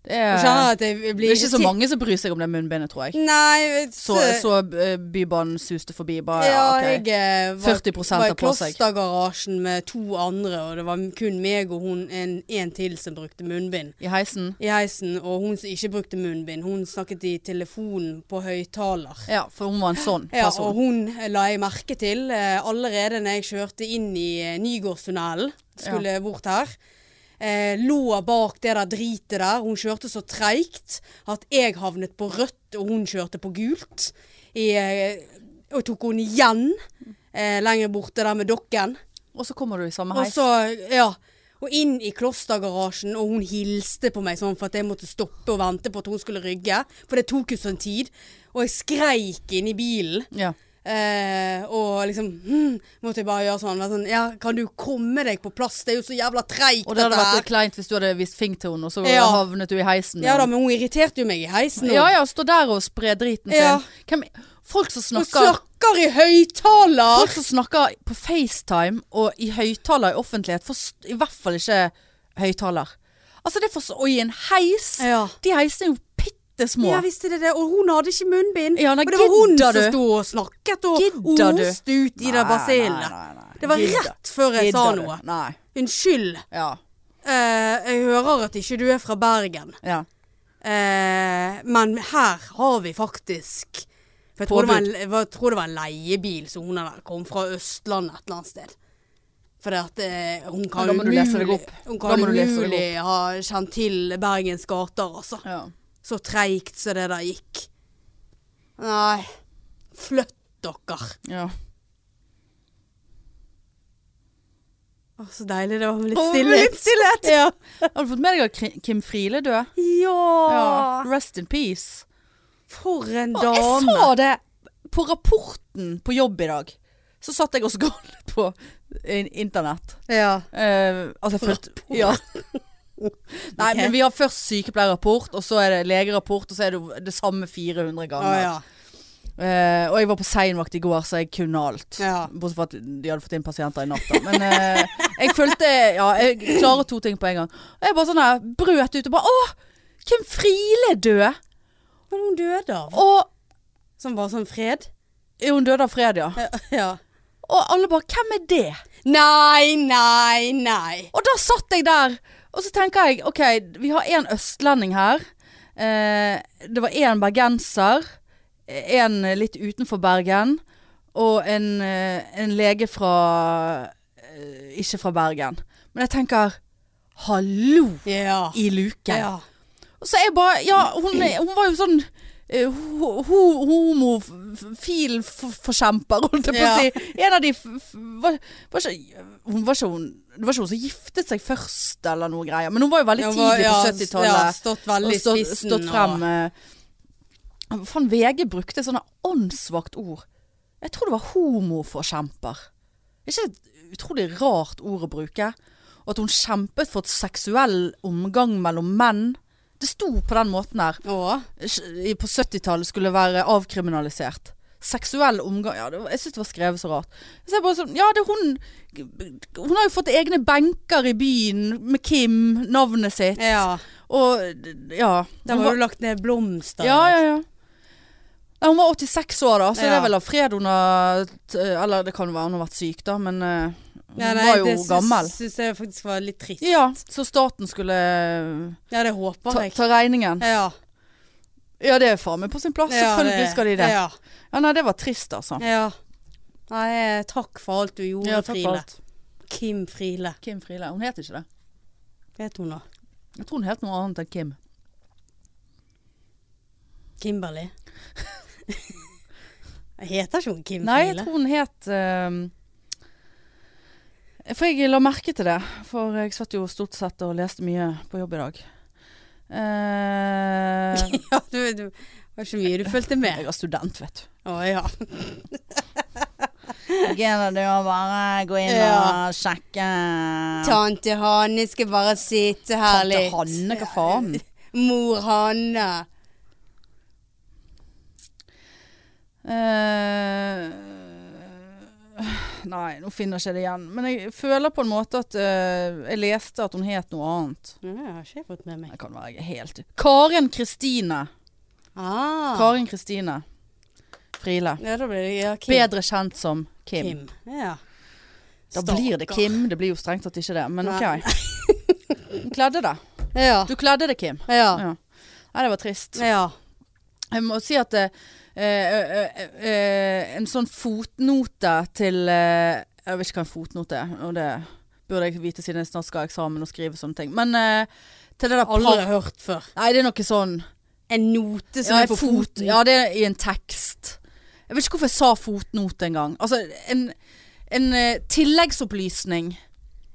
A: Det
B: Jeg
A: er,
B: kjenner at jeg
A: det er
B: blir
A: ikke så mange som bryr seg om det munnbindet, tror jeg.
B: Nei,
A: Så, så eh, Bybanen suste forbi. Bare, ja,
B: ja,
A: ok.
B: jeg eh, var,
A: 40%
B: var
A: har
B: i
A: på seg.
B: klostergarasjen med to andre, og det var kun meg og hun en, en til som brukte munnbind.
A: I heisen.
B: i heisen, og hun som ikke brukte munnbind, hun snakket i telefonen på høyttaler.
A: Ja, for hun var en sånn
B: Ja, og
A: person.
B: hun la jeg merke til eh, allerede når jeg kjørte inn i eh, Nygårdstunnelen, skulle eh, bort her. Eh, lå bak det der dritet der. Hun kjørte så treigt at jeg havnet på rødt, og hun kjørte på gult. I, eh, og tok hun igjen eh, lenger borte der med dokken.
A: Og så kommer du i samme
B: Og
A: heis.
B: så, ja. Og inn i klostergarasjen, og hun hilste på meg sånn for at jeg måtte stoppe og vente på at hun skulle rygge. For det tok jo sånn tid. Og jeg skreik inn i bilen.
A: Ja.
B: Eh, og liksom hmm, Måtte jeg bare gjøre sånn, være sånn. Ja, kan du komme deg på plass? Det er jo så jævla treigt,
A: Og det hadde
B: dette her.
A: vært kleint hvis du hadde vist fing til henne, og så
B: Ja.
A: havnet du i heisen.
B: Ja da, men hun irriterte jo meg i heisen.
A: ja, ja, stå der og spre driten sin.
B: Ja.
A: Hvem, folk som
B: Hun
A: snakker
B: snakker i høyttaler!
A: Folk som snakker på FaceTime og i høyttaler i offentlighet, forst- i hvert fall ikke høyttaler. Altså, det er for så Og i en heis!
B: Ja.
A: De heisene er jo bitte små.
B: Ja, visste det det. Og hun hadde ikke munnbind.
A: Ja, nei,
B: og det var hun
A: gidder du?
B: som sto og snakket og
A: Gidder du?
B: oste ut i det basillet. Det var rett før jeg sa noe.
A: Nei.
B: Unnskyld.
A: Ja.
B: Eh, jeg hører at ikke du er fra Bergen,
A: ja.
B: eh, men her har vi faktisk for jeg tror, det var en,
A: Påbud.
B: jeg var- tror det var en leiebil som hun hadde kom fra Østlandet et eller annet sted. For at, eh, hun kan
A: da må du
B: umulig,
A: lese deg opp.
B: Hun
A: Da
B: kan
A: må du lese deg
B: umulig ha kjent til Bergens gater, altså.
A: ja.
B: Så treigt som det der gikk. Nei, flytt dere.
A: ja.
B: Å, så deilig det var med litt
A: Å, med
B: stillhet.
A: litt stillhet.
B: Ja.
A: Har du fått med deg at Kri- Kim Friele døde? Ja.
B: ja.
A: Rest in peace.
B: For en
A: Å,
B: dame.
A: Jeg så det på rapporten på jobb i dag. Så satt jeg og scrollet på in- internett.
B: Ja.
A: Eh, altså, jeg følte ja. Nei,
B: Ok.
A: men vi har først sykepleierrapport, og så er det legerapport, og så er det jo det samme 400
B: Å,
A: ganger.
B: ja.
A: Eh, og jeg var på seinvakt i går, så jeg kunne alt.
B: Ja.
A: Bortsett fra at de hadde fått inn pasienter i natt. da. Men eh, jeg følte Ja, jeg klarer to ting på en gang. Og jeg bare sånn her brøt ut og bare Å! Kim Friele er død!
B: Men hun døde av.
A: Og
B: Som var sånn fred.
A: Jo, hun døde av fred, ja.
B: Ja.
A: Og alle bare Hvem er det?
B: Nei, nei, nei.
A: Og da satt jeg der, og så tenker jeg OK, vi har én østlending her. Eh, det var én bergenser. En litt utenfor Bergen. Og en, eh, en lege fra eh, Ikke fra Bergen. Men jeg tenker Hallo
B: Ja.
A: i luken.
B: Ja.
A: Og så er jeg bare Ja, hun, er- hun var jo sånn eh, ho- ho- Homofil-forkjemper, holdt jeg på å
B: Ja.
A: si. En av de f f var, var ikke, hun var ikke hun, Det var ikke hun som giftet seg først, eller noe greier. Men hun var jo veldig
B: Ja,
A: tidlig på
B: ja, Ja,
A: 70-tallet.
B: stått
A: og
B: veldig i
A: stått,
B: spissen.
A: stått frem. eh, Faen, VG brukte sånne åndssvakt ord. Jeg tror det var homoforkjemper. Det er ikke et utrolig rart ord å bruke. Og at hun kjempet for et seksuell omgang mellom menn. Det sto på den måten her.
B: Og, å,
A: Sj- i- På 70-tallet skulle være avkriminalisert. Seksuell omgang ja, det var, Jeg syns det var skrevet så rart. Så jeg bare sånn, ja, det er hun Hun har jo fått egne benker i byen med Kim, navnet sitt.
B: ja.
A: Og ja.
B: Der
A: hun
B: var du lagt ned blomster.
A: ja, ja, ja. Nei, hun var 86 år da, så det
B: Ja.
A: er vel av fred hun har t- Eller det kan jo være hun har vært syk da, men eh, hun
B: Nei, nei,
A: var jo
B: det syns-
A: gammel.
B: syns jeg faktisk var litt trist.
A: Ja, så staten skulle eh,
B: Ja, det håper
A: ta,
B: jeg.
A: ta regningen.
B: Ja.
A: Ja, det er faen meg på sin plass.
B: Ja,
A: Selvfølgelig
B: det-
A: skal de det.
B: Ja.
A: Ja, nei, det var trist altså.
B: ja. Nei, eh, takk for alt du gjorde,
A: Ja, takk for
B: Friele.
A: alt.
B: Kim Friele.
A: Kim Friele. Hun het ikke det.
B: Vet hun da?
A: Jeg tror hun het noe annet enn Kim. <laughs>
B: Kimberly. Jeg heter ikke hun Kim
A: Nei, jeg
B: Friele?
A: tror hun het eh, For jeg la merke til det. For jeg satt jo stort sett og leste mye på jobb i dag. Eh,
B: Ja, du, du det var ikke mye du fulgte <laughs> med.
A: Jeg er student, vet du.
B: Å ja.
A: du må bare gå inn
B: Ja.
A: og sjekke eh,
B: Tante Hanne skal bare sitte her
A: Tante
B: litt.
A: Hanne, hva faen?
B: Mor Hanne.
A: Eh, nei, nå finner jeg ikke det igjen. Men jeg føler på en måte at eh, jeg leste at hun het noe annet.
B: Ja, det har ikke jeg fått med meg.
A: Det kan være jeg er helt Karen Kristine.
B: Ah.
A: Karen Kristine Friele.
B: Ja, da blir det ja, Kim.
A: Bedre kjent som Kim.
B: Kim. Ja.
A: Da blir det
B: Stakkar.
A: Kim. Det blir jo strengt tatt ikke det, men OK.
B: Nei.
A: Du kledde det.
B: Ja.
A: Du kledde det, Kim.
B: Ja.
A: Ja. Nei, det var trist.
B: ja.
A: Jeg må si at eh, eh, eh, eh, en sånn fotnote til eh, Jeg vet ikke hva en fotnote er, og det burde jeg vite siden jeg snart skal ha eksamen og skrive sånne ting. Men eh, til det der
B: Aldri
A: par...
B: hørt før.
A: Nei, det er noe sånn
B: En note som
A: ja,
B: er sånn på
A: fot-
B: foten.
A: Ja, det er i en tekst. Jeg vet ikke hvorfor jeg sa fotnote engang. Altså, en, en eh, tilleggsopplysning.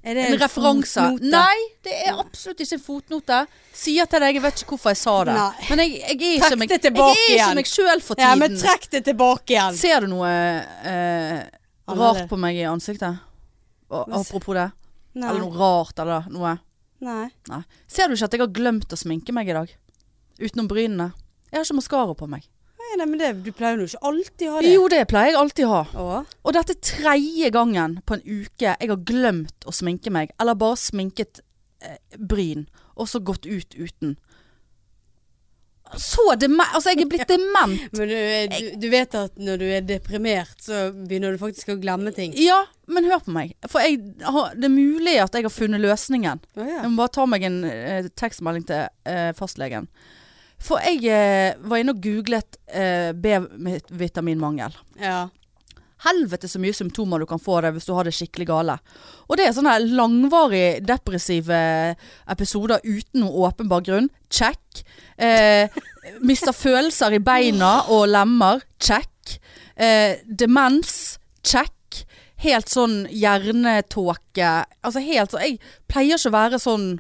B: Er det
A: En, referanse.
B: fotnote?
A: Nei, det er absolutt ikke en fotnote. Sier til deg, jeg vet ikke hvorfor jeg sa det.
B: Nei.
A: Men jeg, jeg er
B: Trekk
A: ikke meg,
B: det
A: jeg
B: tilbake
A: er ikke
B: igjen.
A: meg sjøl for
B: Ja, men
A: tiden.
B: trekk det tilbake igjen.
A: Ser du noe eh, rart
B: Annerledes.
A: på meg i ansiktet? Og,
B: Hva s-
A: apropos det.
B: Nei.
A: Eller noe rart eller noe.
B: Nei.
A: Nei. Ser du ikke at jeg har glemt å sminke meg i dag? Utenom brynene. Jeg har ikke maskara på meg.
B: Nei, nei, men det, du pleier jo ikke alltid å ha det.
A: Jo, det pleier jeg alltid å ha.
B: Å?
A: Og dette er tredje gangen på en uke jeg har glemt å sminke meg, eller bare sminket eh, bryn, og så gått ut uten. Så dement Altså, jeg er blitt
B: <laughs>
A: dement.
B: Men du, du, du vet at når du er deprimert, så begynner du faktisk å glemme ting.
A: Ja, men hør på meg. For jeg, har- det er mulig at jeg har funnet løsningen.
B: Å ja.
A: Jeg må bare ta meg en eh, tekstmelding til eh, fastlegen. For jeg eh, var inne og googlet eh, B-vitaminmangel.
B: ja.
A: helvete så mye symptomer du kan få deg hvis du har det skikkelig gale. Og det er sånne langvarig depressive eh, episoder uten noen åpenbar grunn. Check. Eh, mister følelser i beina og lemmer. Check. Eh, demens. Check. Helt sånn hjernetåke. Altså helt sånn Jeg pleier ikke å være sånn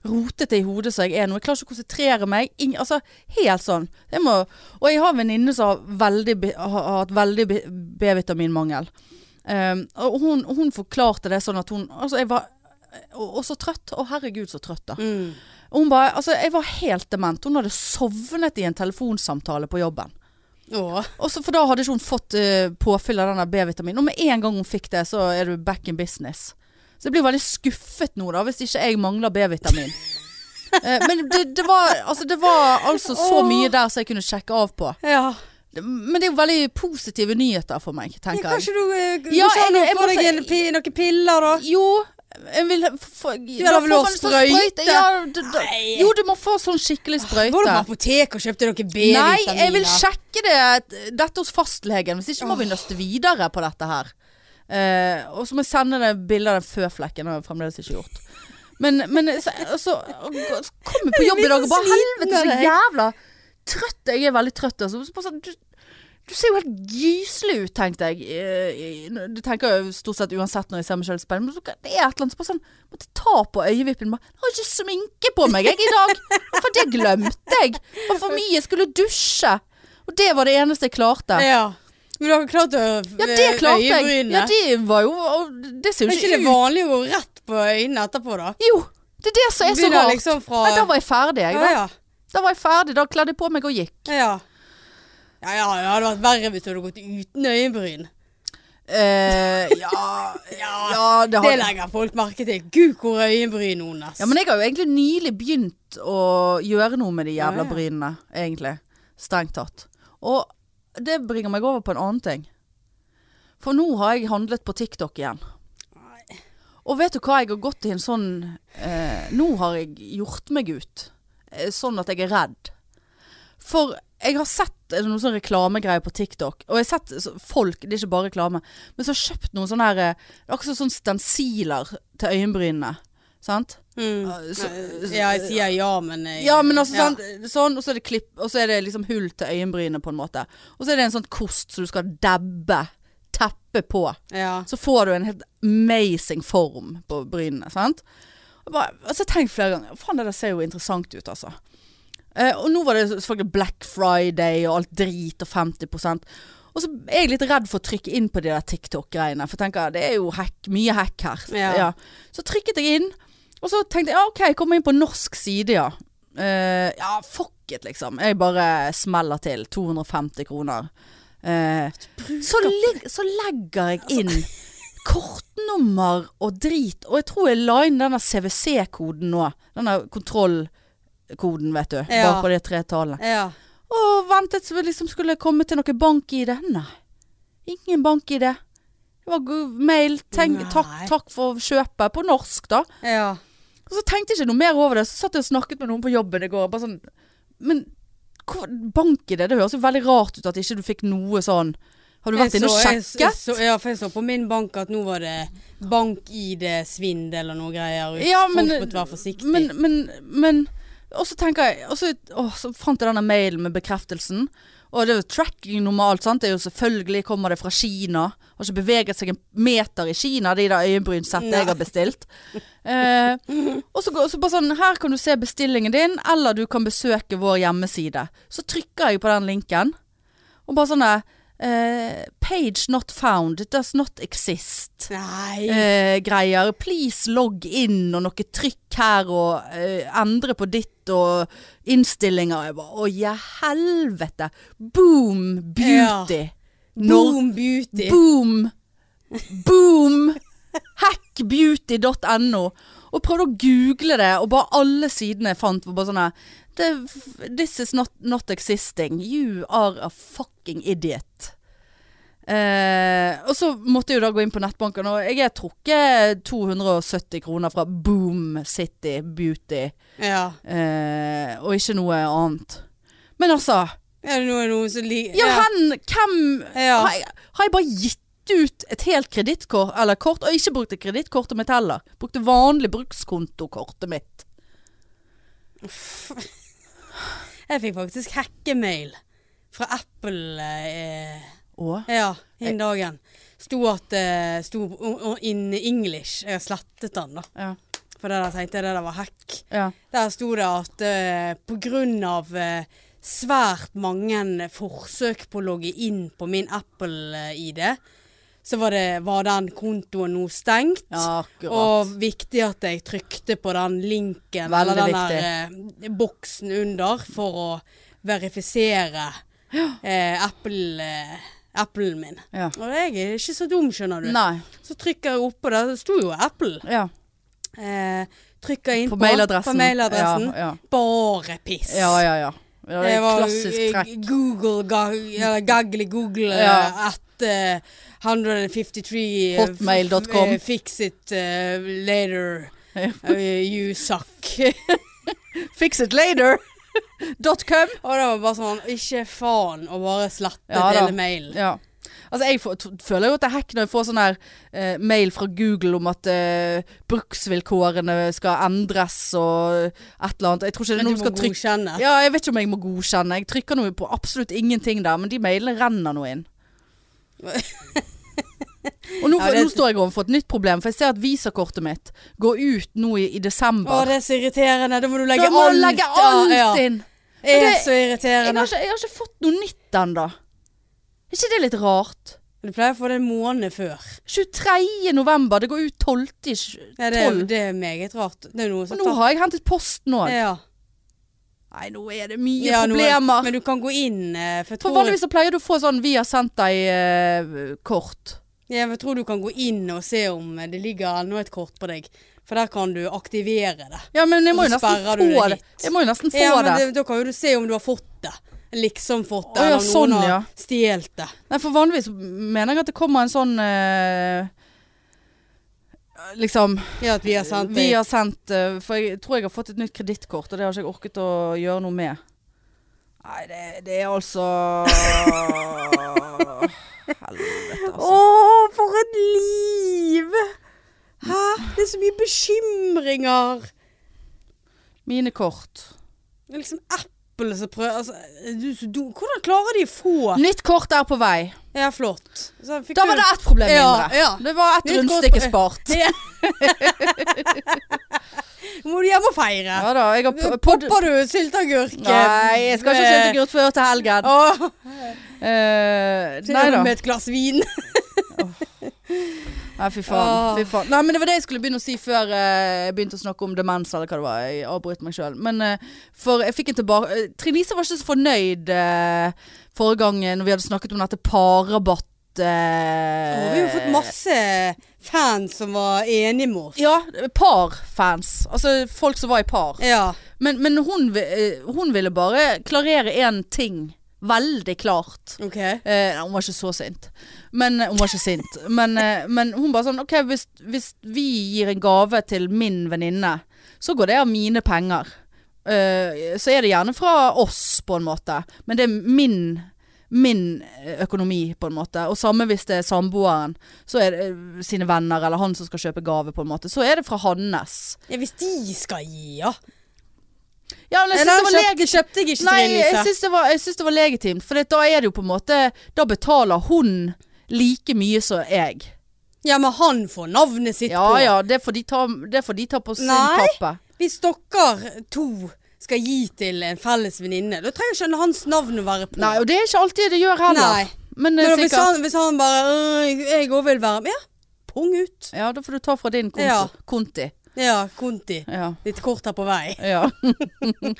A: rotete i hodet som jeg er nå. Jeg klarer ikke å konsentrere meg. Ing, altså, helt sånn. Jeg må, og jeg har en venninne som har, veldig, be- har har hatt veldig be- B-vitaminmangel. Um, og hun, hun forklarte det sånn at hun Altså, jeg var og, og så trøtt. Å, herregud, så trøtt, da.
B: Mm.
A: Og hun bare Altså, jeg var helt dement. Hun hadde sovnet i en telefonsamtale på jobben.
B: Å.
A: Og så, for da hadde ikke hun fått eh, påfyll av denne B-vitaminen. Og med en gang hun fikk det, så er du back in business. Så jeg blir veldig skuffet nå, da, hvis ikke jeg mangler
B: <laughs>
A: B-vitamin. Eh, men det, det, var, altså, det var altså så
B: Åh.
A: mye der som jeg kunne sjekke av på.
B: Ja.
A: Det- Men det er jo veldig positive nyheter for meg,
B: ja.
A: tenker jeg.
B: Kanskje du eh, går
A: Ja,
B: ikke an å
A: jeg- jeg
B: få
A: må
B: deg
A: si-
B: en pi, noen piller, da?
A: Jo, jeg vil f- få Du
B: har vel lov å sprøyte?
A: sånn Ja, d- d-
B: Nei.
A: jo, du må få sånn skikkelig
B: Går du på
A: sprøyte.
B: apoteket og kjøper noen
A: Nei, jeg vil
B: B-vitaminer?
A: sjekke det, dette hos fastlegen. Hvis ikke må vi nøste videre på dette her. Eh, og så må jeg sende deg bilde av den føflekken. Det har jeg fremdeles ikke gjort. Men, men så, så kom jeg på jobb i <laughs> dag og bare
B: sliten
A: Helvete,
B: av
A: så
B: deg.
A: jævla trøtt. Jeg er veldig trøtt. Altså. Så bare sånn, Du, du ser jo helt gyselig ut, tenkte jeg. Eh, i- Det tenker jeg jo stort sett uansett når jeg ser meg sjøl i speilet. Men så, det er et eller annet så bare sånn Måtte ta på øyevippen. Bare, jeg har ikke sminke på meg jeg i dag. For det glemte jeg. Det var for mye. Jeg skulle dusje. Og det var det eneste jeg klarte.
B: Ja. Men du har klart å
A: Ja, det klarte jeg.
B: øyebrynene.
A: Ja, det var jo og Det ser jo
B: er ikke
A: ikke
B: det
A: ut.
B: vanlig å gå rett på øynene etterpå, da?
A: Jo, det er det som er så
B: Begynner
A: rart.
B: liksom fra
A: Nei, da var jeg ferdig, jeg. Da,
B: ja,
A: da var jeg ferdig. Da kledde jeg på meg og gikk.
B: ja. ja. Ja, ja, det hadde vært verre hvis du hadde gått uten øyenbryn.
A: Eh, ja, ja det
B: Det
A: har
B: legger folk merke til. Gud, hvor øyenbryn hun er.
A: Ja, men jeg har jo egentlig nylig begynt å gjøre noe med de jævla
B: Ja, ja.
A: brynene, egentlig. Strengt tatt. Og det bringer meg over på en annen ting. For nå har jeg handlet på TikTok igjen. Og vet du hva, jeg har gått i en sånn eh, Nå har jeg gjort meg ut. Eh, Sånn at jeg er redd. For jeg har sett eh, noen sånne reklamegreier på TikTok. Og jeg har sett så- folk, det er ikke bare reklame, men som har kjøpt noen sånne her eh, Akkurat sånn stensiler til øyenbrynene. Sant?
B: mm.
A: Så,
B: Ja, jeg sier ja, men jeg,
A: ja, men altså sånn, sånn og, så er det klipp, og så er det liksom hull til øyenbrynet på en måte. Og så er det en sånn kost som du skal dabbe, teppe på.
B: Ja.
A: Så får du en helt amazing form på brynene, sant? Og bare, altså tenk flere ganger, faen det der ser jo interessant ut altså. Eh, og nå var det selvfølgelig Black Friday og alt drit og 50%. Og så er jeg litt redd for å trykke inn på de der TikTok-greiene, for jeg tenker, det er jo hack, mye hack her.
B: Ja.
A: Så trykket jeg inn, og så tenkte jeg, ja ok, jeg kommer inn på norsk side, ja. Eh, ja, fuck it liksom. Jeg bare smeller til, 250 kroner. Eh, så, lig- så legger jeg
B: Altså-
A: inn kortnummer og drit. Og jeg tror jeg la inn denne CWC-koden nå. Denne kontrollkoden, vet du. Bare
B: Ja.
A: på de tre tallene.
B: ja.
A: Og ventet så vi liksom skulle komme til noe bank-ID. Nei. Ingen bank-ID. Det var go- mail. Tenk,
B: Nei.
A: takk, takk for kjøpet. På norsk, da.
B: ja.
A: Og så tenkte jeg ikke noe mer over det. Så satt jeg og snakket med noen på jobben i går. Bare sånn, men hvor- bank i det, det høres jo veldig rart ut at ikke du fikk noe sånn Har du vært inne og
B: Jeg så- jeg
A: sjekket?
B: så- Ja, for jeg så på min bank at nå var det bank-ID-svindel og noe greier. og
A: Ja, men-
B: Folk måtte være forsiktige.
A: Men, men, men Og så tenker jeg og så, åh, så fant jeg denne mailen med bekreftelsen. Og det er jo tracking normalt, sant. Det er jo selvfølgelig kommer det fra Kina. Har ikke beveget seg en meter i Kina, de der øyenbrynsettene jeg har bestilt. Eh, og så, går- så bare sånn Her kan du se bestillingen din, eller du kan besøke vår hjemmeside. Så trykker jeg på den linken, og bare sånn eh, Page not found. It does not exist
B: Nei.
A: eh, greier. Please logg inn og noe trykk her og eh, endre på ditt og innstillinger. Jeg bare, Å, ja helvete. Boom beauty. Nor-
B: Boom beauty.
A: Boom. Boom. Hackbeauty.no. Og prøvde å google det, og bare alle sidene jeg fant var bare sånn her "The- This is not, not existing. You are a fucking idiot. Eh, og så måtte jeg jo da gå inn på nettbanken, og jeg er trukket 270 kroner fra Boom City Beauty,
B: ja.
A: eh, og ikke noe annet. Men altså
B: Er det noe, noen som liker
A: ja, hen, hvem
B: Ja.
A: har, jeg, har jeg bare gitt ut et helt kredittkort, eller kort, og ikke brukte kredittkortet mitt heller. Brukte vanlig brukskontokortet mitt.
B: Jeg fikk faktisk hackemail fra Apple eh,
A: Å,
B: ja, den
A: Eh,
B: dagen. Sto at eh, sto o- o- in English. Jeg har slettet den, da.
A: ja.
B: For det der tenkte jeg det der var hack.
A: ja.
B: Der sto det at eh, på grunn av eh, svært mange forsøk på å logge inn på min Apple-ID, så var, det, var den kontoen nå stengt.
A: Ja, akkurat.
B: og viktig at jeg trykte på den linken
A: Veldig
B: eller den der eh, boksen under for å verifisere eh, Apple, eh, Apple min.
A: Ja.
B: Og jeg er ikke så dum, skjønner du.
A: Nei.
B: Så trykker jeg oppå der, det sto jo Apple.
A: Ja.
B: Eh, trykker inn
A: På
B: på,
A: mailadressen.
B: På mailadressen.
A: Ja, ja.
B: Bare piss.
A: ja, ja. ja. ja det
B: Det
A: er
B: var
A: klassisk
B: eh,
A: trekk.
B: Google, ga- eller Gagle Google
A: Ja.
B: eh, at eh, 153 eh,
A: Hotmail.com.
B: f- eh, Fix it eh, later.
A: <laughs> Ja.
B: Eh, you suck. <laughs>
A: Fix it later! <laughs> Dot com.
B: og det var bare sånn Ikke faen og bare slettet
A: Ja da.
B: hele mailen.
A: Ja. Altså, jeg får, t- føler jo at det er hack når jeg får sånn her eh, mail fra Google om at eh, bruksvilkårene skal endres og et eller annet. Jeg tror ikke det er
B: Men
A: noen
B: du
A: som
B: må
A: skal trykke
B: godkjenne.
A: Ja, jeg vet ikke om jeg må godkjenne. Jeg trykker noe på absolutt ingenting der, men de mailene renner nå inn. Og nå,
B: Ja, det-
A: nå står jeg overfor et nytt problem, for jeg ser at visakortet mitt går ut nå i, i
B: Å,
A: desember.
B: det er så irriterende. Da må du legge
A: Da må
B: alt,
A: du legge
B: ja,
A: alt
B: ja.
A: inn!
B: Det er
A: det-
B: så
A: Jeg har,
B: irriterende.
A: ikke, jeg har ikke fått noe nytt ennå. Er ikke det litt rart?
B: Du pleier å få det en måned før.
A: 23. november, det går ut 12. i tj-
B: Ja, det, er-
A: 12.
B: det er meget rart. Det er noe
A: Og
B: som
A: nå har jeg hentet post nå.
B: Ja.
A: Nei, nå er det mye
B: Ja, nå er-
A: problemer.
B: Men du kan gå inn eh, for jeg
A: For
B: tror-
A: vanligvis så pleier du å få sånn 'vi har sendt deg eh, kort'.
B: Ja, Jeg tror du kan gå inn og se om eh, det ligger ennå et kort på deg. For der kan du aktivere det.
A: Ja, men jeg må jo
B: Og så
A: nesten få
B: sperrer du det
A: det.
B: hit.
A: Jeg må jo nesten få
B: ja, men
A: det.
B: det- Da kan jo du se om du har fått det. Liksom fått det,
A: Å, ja,
B: eller om
A: sånn,
B: noen har
A: ja.
B: stjålet det.
A: Nei, for vanligvis mener jeg at det kommer en sånn eh, Liksom
B: Ja, at vi har sendt
A: Vi
B: det.
A: har sendt eh, For jeg tror jeg har fått et nytt kredittkort, og det har ikke jeg orket å gjøre noe med. Nei, det, det er altså
B: <laughs>
A: Helvete, altså.
B: Å, for et liv! Hæ? Det er så mye bekymringer.
A: Mine kort.
B: Det er liksom Apple som prøver altså, du, er så dum. Hvordan klarer de å få
A: Nytt kort er på vei.
B: Ja, flott. Så fikk
A: Da
B: du-
A: var det ett problem
B: Ja,
A: mindre.
B: ja.
A: Det var ett
B: Nytt kort
A: rundstykke
B: på-
A: spart.
B: Må du hjem og feire?
A: Ja da. Jeg har p- podd...
B: Popper du sylteagurk?
A: Nei, jeg skal ikke ha
B: med-
A: syltegurt før til helgen.
B: Åh,
A: Eh,
B: til
A: nei
B: og
A: da. Eh.
B: Med et glass vin.
A: Nei, fy faen.
B: Åh.
A: fy faen. Nei, men det var det jeg skulle begynne å si før eh, jeg begynte å snakke om demens, eller hva det var. Jeg avbrøt meg sjøl. Men eh, for jeg fikk en tilbake eh, Trine Lise var ikke så fornøyd eh, forrige gang eh, når vi hadde snakket om dette parrabatt. Uh,
B: Åh, vi har jo fått masse fans som var enige med oss.
A: Ja, parfans. Altså folk som var i par.
B: Ja.
A: Men, men hun, vi- eh, hun ville bare klarere én ting veldig klart.
B: Ok.
A: Eh, nei, hun var ikke så sint. Men, eh, hun var ikke sint. Men, eh, men hun bare sånn OK, hvis, hvis vi gir en gave til min venninne, så går det av mine penger. Eh, så er det gjerne fra oss, på en måte. Men det er min min eh, økonomi, på en måte. Og samme hvis det er samboeren så er det, eh, sine venner eller han som skal kjøpe gave, på en måte. Så er det fra hans.
B: Ja, hvis de skal gi, ja.
A: Ja, men jeg
B: Nei,
A: synes det var
B: kjøp-
A: legitimt.
B: kjøpte jeg ikke
A: Nei,
B: til
A: jeg
B: Elise.
A: syns det, var- jeg synes det var legitimt. For det, da er det jo på en måte Da betaler hun like mye som jeg.
B: Ja, men han får navnet sitt
A: Ja
B: på.
A: ja, det får de ta, det får de ta på sin
B: Nei.
A: kappe.
B: Hvis dere to skal gi til en felles venninne, da trenger ikke hans navn å være på.
A: Nei, og det er ikke alltid det gjør heller.
B: Nei.
A: Men, eh,
B: Men sånn- hvis,
A: sikkert
B: han, hvis han bare «Øh, 'Jeg òg vil være med', ja, pung ut.
A: Ja, da får du ta fra din konto.
B: Ja.
A: Konti.
B: Ja, Konti.
A: Ja.
B: Litt kort her på vei.
A: ja.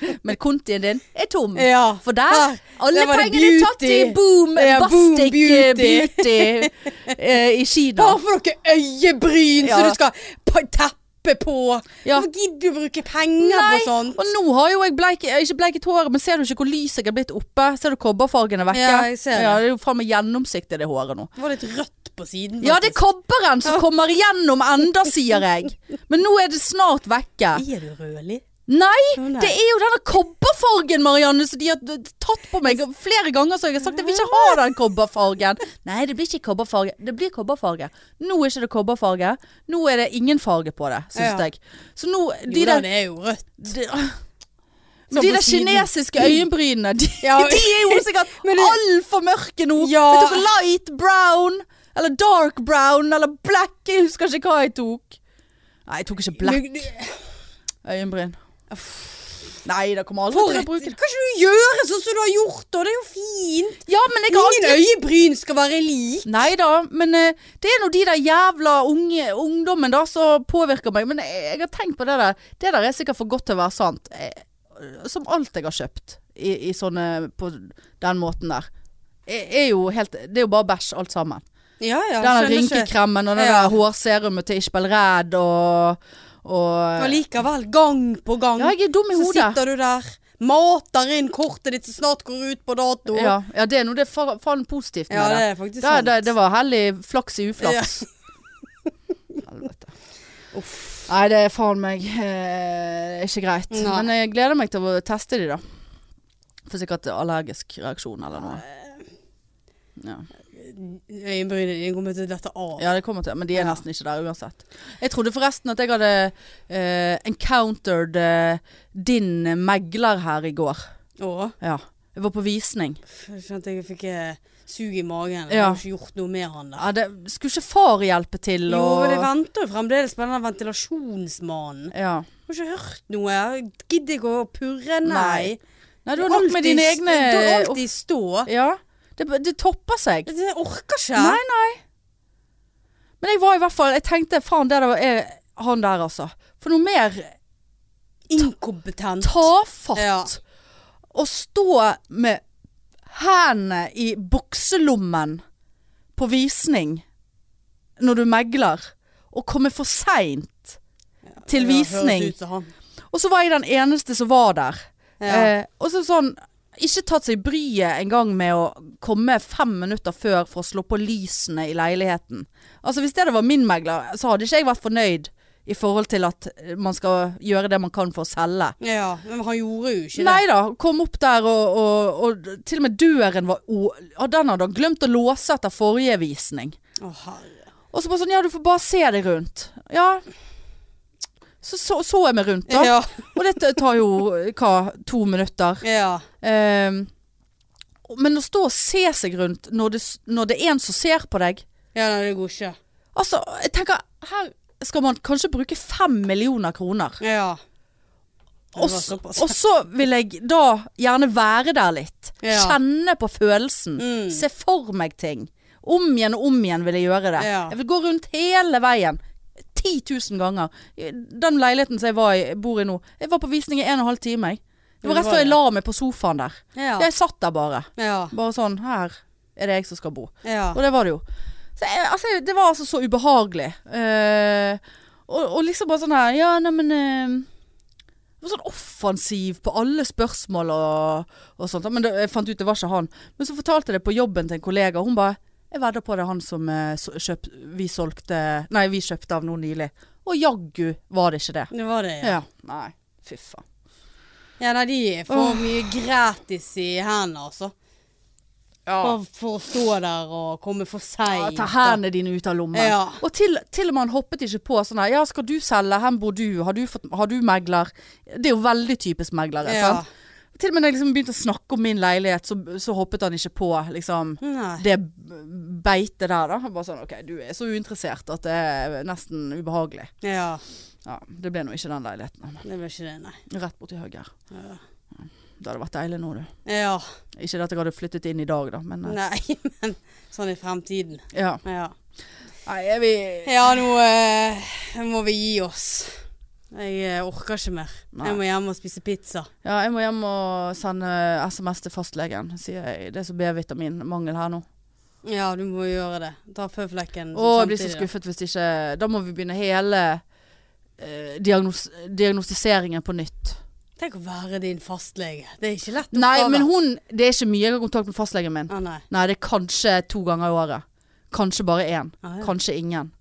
A: <laughs> Men kontien din er tom.
B: Ja.
A: For der
B: Der,
A: Alle
B: der var det
A: pengene er tatt i
B: beauty.
A: boom,
B: Ja, boom
A: Bastic eh,
B: beauty.
A: beauty, eh, i Kina.
B: Bare for dere øyebryn
A: Ja.
B: som du skal pa- teppe på.
A: Ja.
B: Hvorfor gidder du å bruke penger på sånt?
A: og nå har jo jeg bleik, eh, ikke bleiket hår, men ser du ikke hvor lys jeg er blitt oppe? Ser du kobberfargen er vekke?
B: Ja, jeg ser det.
A: Ja, det er jo faen meg gjennomsiktig det håret nå.
B: Det var litt rødt på siden.
A: Ja, det er kobberen som kommer igjennom enda, sier jeg. Men nå er det snart vekke.
B: Er du rødlig? Sånn
A: Nei,
B: Å, nei.
A: det er jo denne kobberfargen, Marianne, som de har d- tatt på meg og flere ganger. Så jeg har sagt jeg vil ikke ha den kobberfargen. Nei, det blir ikke kobberfarge. Det blir kobberfarge. Nå er ikke det kobberfarge. Nå er det ingen farge på det, syns
B: Ja.
A: jeg. Så nå
B: Jo
A: De
B: da,
A: der,
B: det er jo rødt.
A: de,
B: Sånn
A: men de
B: på
A: der
B: siden.
A: kinesiske øyenbrynene, de,
B: Ja.
A: <laughs> de er jo sikkert
B: Men det-
A: altfor mørke nå.
B: Ja.
A: Jeg tok light brown, eller dark brown, eller black. Jeg husker ikke hva jeg tok. Nei, jeg tok ikke black.
B: Men-
A: Øyenbryn. Nei, det kommer aldri
B: For
A: til å
B: et
A: bruke
B: Kan ikke du gjøre sånn som du har gjort, da? Det er jo fint.
A: Ja, men jeg har
B: Ingen
A: alltid
B: øyebryn skal være lik.
A: Nei da, men eh, det er nå de der jævla unge ungdommen da som påvirker meg. Men jeg, jeg har tenkt på det der. Det der er sikkert for godt til å være sant. Eh, Som alt jeg har kjøpt i, i sånne På den måten der. Er er jo helt, det er jo bare bæsj alt sammen.
B: Ja, ja.
A: Den der
B: skjønner ikke.
A: rynkekremen og det
B: Ja.
A: der hårserumet til Ishbel Red og,
B: Og
A: og
B: likevel, gang på gang,
A: Ja, jeg er dum i
B: så
A: hodet.
B: sånn sitter du der. Mater inn kortet ditt som snart går ut på dato.
A: Ja, ja, det er noe det er fa- faen positivt med
B: Ja,
A: det.
B: det er faktisk
A: Det,
B: sant.
A: det, det var hellig flaks i uflaks. <laughs> Helvete. Nei, det er faen meg eh, ikke greit.
B: Nei.
A: Men jeg gleder meg til å teste de, da. For sikkert allergisk reaksjon eller noe. Ja.
B: Øyenbrynene dine kommer til å dette av.
A: ja, det kommer til. Men de er
B: Ja.
A: nesten ikke der uansett. Jeg trodde forresten at jeg hadde eh, encountered eh, din megler her i går.
B: Å,
A: Ja. Jeg var på visning.
B: jeg skjønte jeg fikk eh, sug i magen. Jeg
A: Ja.
B: har ikke gjort noe med han der.
A: Ja, det, skulle ikke far hjelpe til?
B: Jo,
A: Og,
B: det venter jo fremdeles på den ventilasjonsmannen.
A: ja.
B: Jeg har ikke hørt noe. Jeg Gidder ikke å purre,
A: Nei.
B: nei.
A: Nei, du har nok med
B: Alltid
A: dine
B: st-
A: egne
B: Du har alltid stå.
A: <laughs> Ja, det, det topper seg.
B: Jeg orker ikke.
A: Nei, nei. Men jeg var i hvert fall Jeg tenkte faen, det der er han der, altså. For noe mer
B: Inkompetent.
A: tafatt
B: Ja.
A: å stå med hendene i bukselommen på visning når du megler, og komme for seint til visning.
B: Ja, høres ut som han.
A: Og så var jeg den eneste som var der.
B: Ja.
A: Eh, og så sånn Ikke tatt seg bryet engang med å komme fem minutter før for å slå på lysene i leiligheten. Altså Hvis det hadde vært min megler, så hadde ikke jeg vært fornøyd i forhold til at eh, man skal gjøre det man kan for å selge.
B: ja, men han gjorde jo ikke
A: Nei da. Kom opp der, og, og, og til og med døren var å, ja, Den hadde han glemt å låse etter forrige visning.
B: det. Å, herre.
A: Og så bare sånn Ja, du får bare se deg rundt. Ja. Så så, så jeg meg rundt, da.
B: Ja,
A: Og dette tar jo hva, to minutter.
B: ja.
A: Ehm, men å stå og se seg rundt når det, s- når det er en som ser på deg
B: ja nei, det går ikke.
A: Altså, jeg tenker Her skal man kanskje bruke fem millioner kroner.
B: Ja.
A: Og,
B: Det var
A: s-
B: såpass.
A: og så vil jeg da gjerne være der litt.
B: Ja.
A: Kjenne på følelsen.
B: Mm.
A: Se for meg ting. Om igjen og om igjen vil jeg gjøre det.
B: Ja.
A: Jeg vil gå rundt hele veien. 10 000 ganger. Den leiligheten som jeg var i, bor i nå, jeg var på visning i en og en halv time. jeg. Det var
B: Ja, det
A: rett
B: var
A: før jeg
B: det.
A: la meg på sofaen der.
B: Ja.
A: Jeg satt der bare.
B: Ja.
A: Bare sånn Her er det jeg som skal bo.
B: ja.
A: Og det var det jo. Så jeg, altså, jeg- det var altså så ubehagelig. Eh, og, og liksom bare sånn her Ja, neimen eh, det var Sånn offensiv på alle spørsmål og, og sånt. Men det, jeg fant ut det var ikke han. Men så fortalte jeg det på jobben til en kollega, og hun bare 'Jeg vedder på det er han som eh, så- kjøp, vi solgte Nei, vi kjøpte av nå nylig.' Og jaggu var det ikke det.
B: Det var det,
A: Ja.
B: ja.
A: Nei, fy faen.
B: Ja, nei, de får mye gratis i hendene, altså.
A: Ja.
B: For, for å stå der og komme for seint.
A: Ta hendene dine ut av lommen.
B: Ja.
A: Og til, til og med han hoppet ikke på sånn her Ja, skal du selge? Hvor bor du? Har du, fått, har du megler? Det er jo veldig typisk meglere.
B: Ja.
A: Sant? Til og med da jeg liksom begynte å snakke om min leilighet, så, så hoppet han ikke på liksom
B: Nei.
A: det b- beitet der, da. Bare sånn OK, du er så uinteressert at det er nesten ubehagelig.
B: Ja.
A: Ja, det ble nå ikke den leiligheten.
B: Det var ikke det, nei.
A: Rett borti høyre.
B: Ja.
A: Det hadde vært deilig nå, du.
B: Ja.
A: Ikke det at jeg hadde flyttet inn i dag, da, men eh,
B: Nei, <laughs> men sånn i fremtiden.
A: ja.
B: Ja.
A: Nei, er vi
B: Ja, nå eh, må vi gi oss. Jeg eh, orker ikke mer.
A: Nei.
B: Jeg må hjem og spise pizza.
A: Ja, jeg må hjem og sende SMS til fastlegen, sier jeg. Det er så B-vitaminmangel her nå.
B: Ja, du må gjøre det. Ta føflekken
A: Å, jeg blir så skuffet hvis ikke Da må vi begynne hele eh, diagnos diagnostiseringen på nytt.
B: Tenk å være din fastlege. Det er ikke lett
A: Nei, men hun Det er ikke mye jeg har kontakt med fastlegen min.
B: Å nei.
A: Nei, det er kanskje to ganger i året. Kanskje bare én.
B: Ah, ja.
A: Kanskje ingen.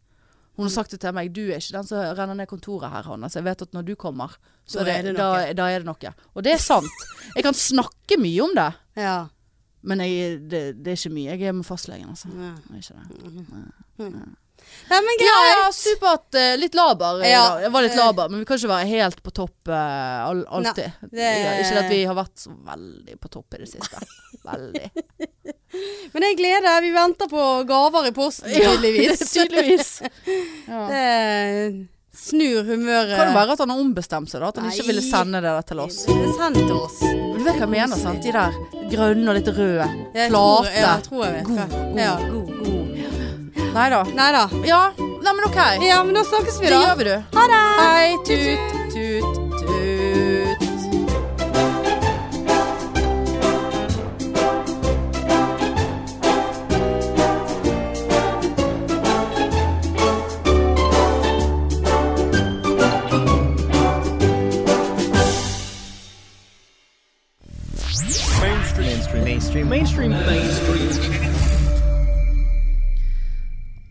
A: Hun har sagt det til meg. Du er ikke den som renner ned kontoret her, Hanne. Så jeg vet at når du kommer, så
B: Da
A: er
B: er
A: det,
B: det
A: da,
B: noe.
A: da er det noe. Og det er sant. Jeg kan snakke mye om det,
B: Ja.
A: men jeg, det, det er ikke mye. Jeg er med fastlegen, altså.
B: ja.
A: Det er ikke det.
B: Nei, men
A: Ja,
B: greit.
A: ja, supert. eh, Litt laber. eh,
B: Ja,
A: da. Jeg var litt
B: eh.
A: laber, men vi kan ikke være helt på topp eh, all, alltid. Ja, ikke det at vi har vært så veldig på topp i det
B: <laughs>
A: siste. Veldig. <laughs>
B: Men jeg gleder. Vi venter på gaver i posten, tydeligvis.
A: <laughs> Tydeligvis.
B: <laughs>
A: Ja.
B: Det snur humøret.
A: Kan det være at han har ombestemt seg, da? At han ikke
B: Nei.
A: ville sende det der til oss?
B: Send til oss.
A: Du vet hva jeg mener, sant? De der grønne og litt røde.
B: Jeg tror-
A: Flate.
B: Ja, jeg tror jeg vet
A: God,
B: hva.
A: god,
B: Ja.
A: god, god. Nei da.
B: Nei da.
A: Ja, nei, men OK.
B: Ja, men da snakkes vi,
A: Det
B: da.
A: gjør vi, du.
B: Ha det!
A: Hei, tut, tut, tut.
C: Mainstream. Mainstream. Mainstream. Mainstream.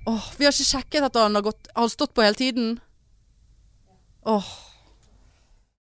A: Åh, vi har ikke sjekket at han har gått Har han stått på hele tiden? Åh,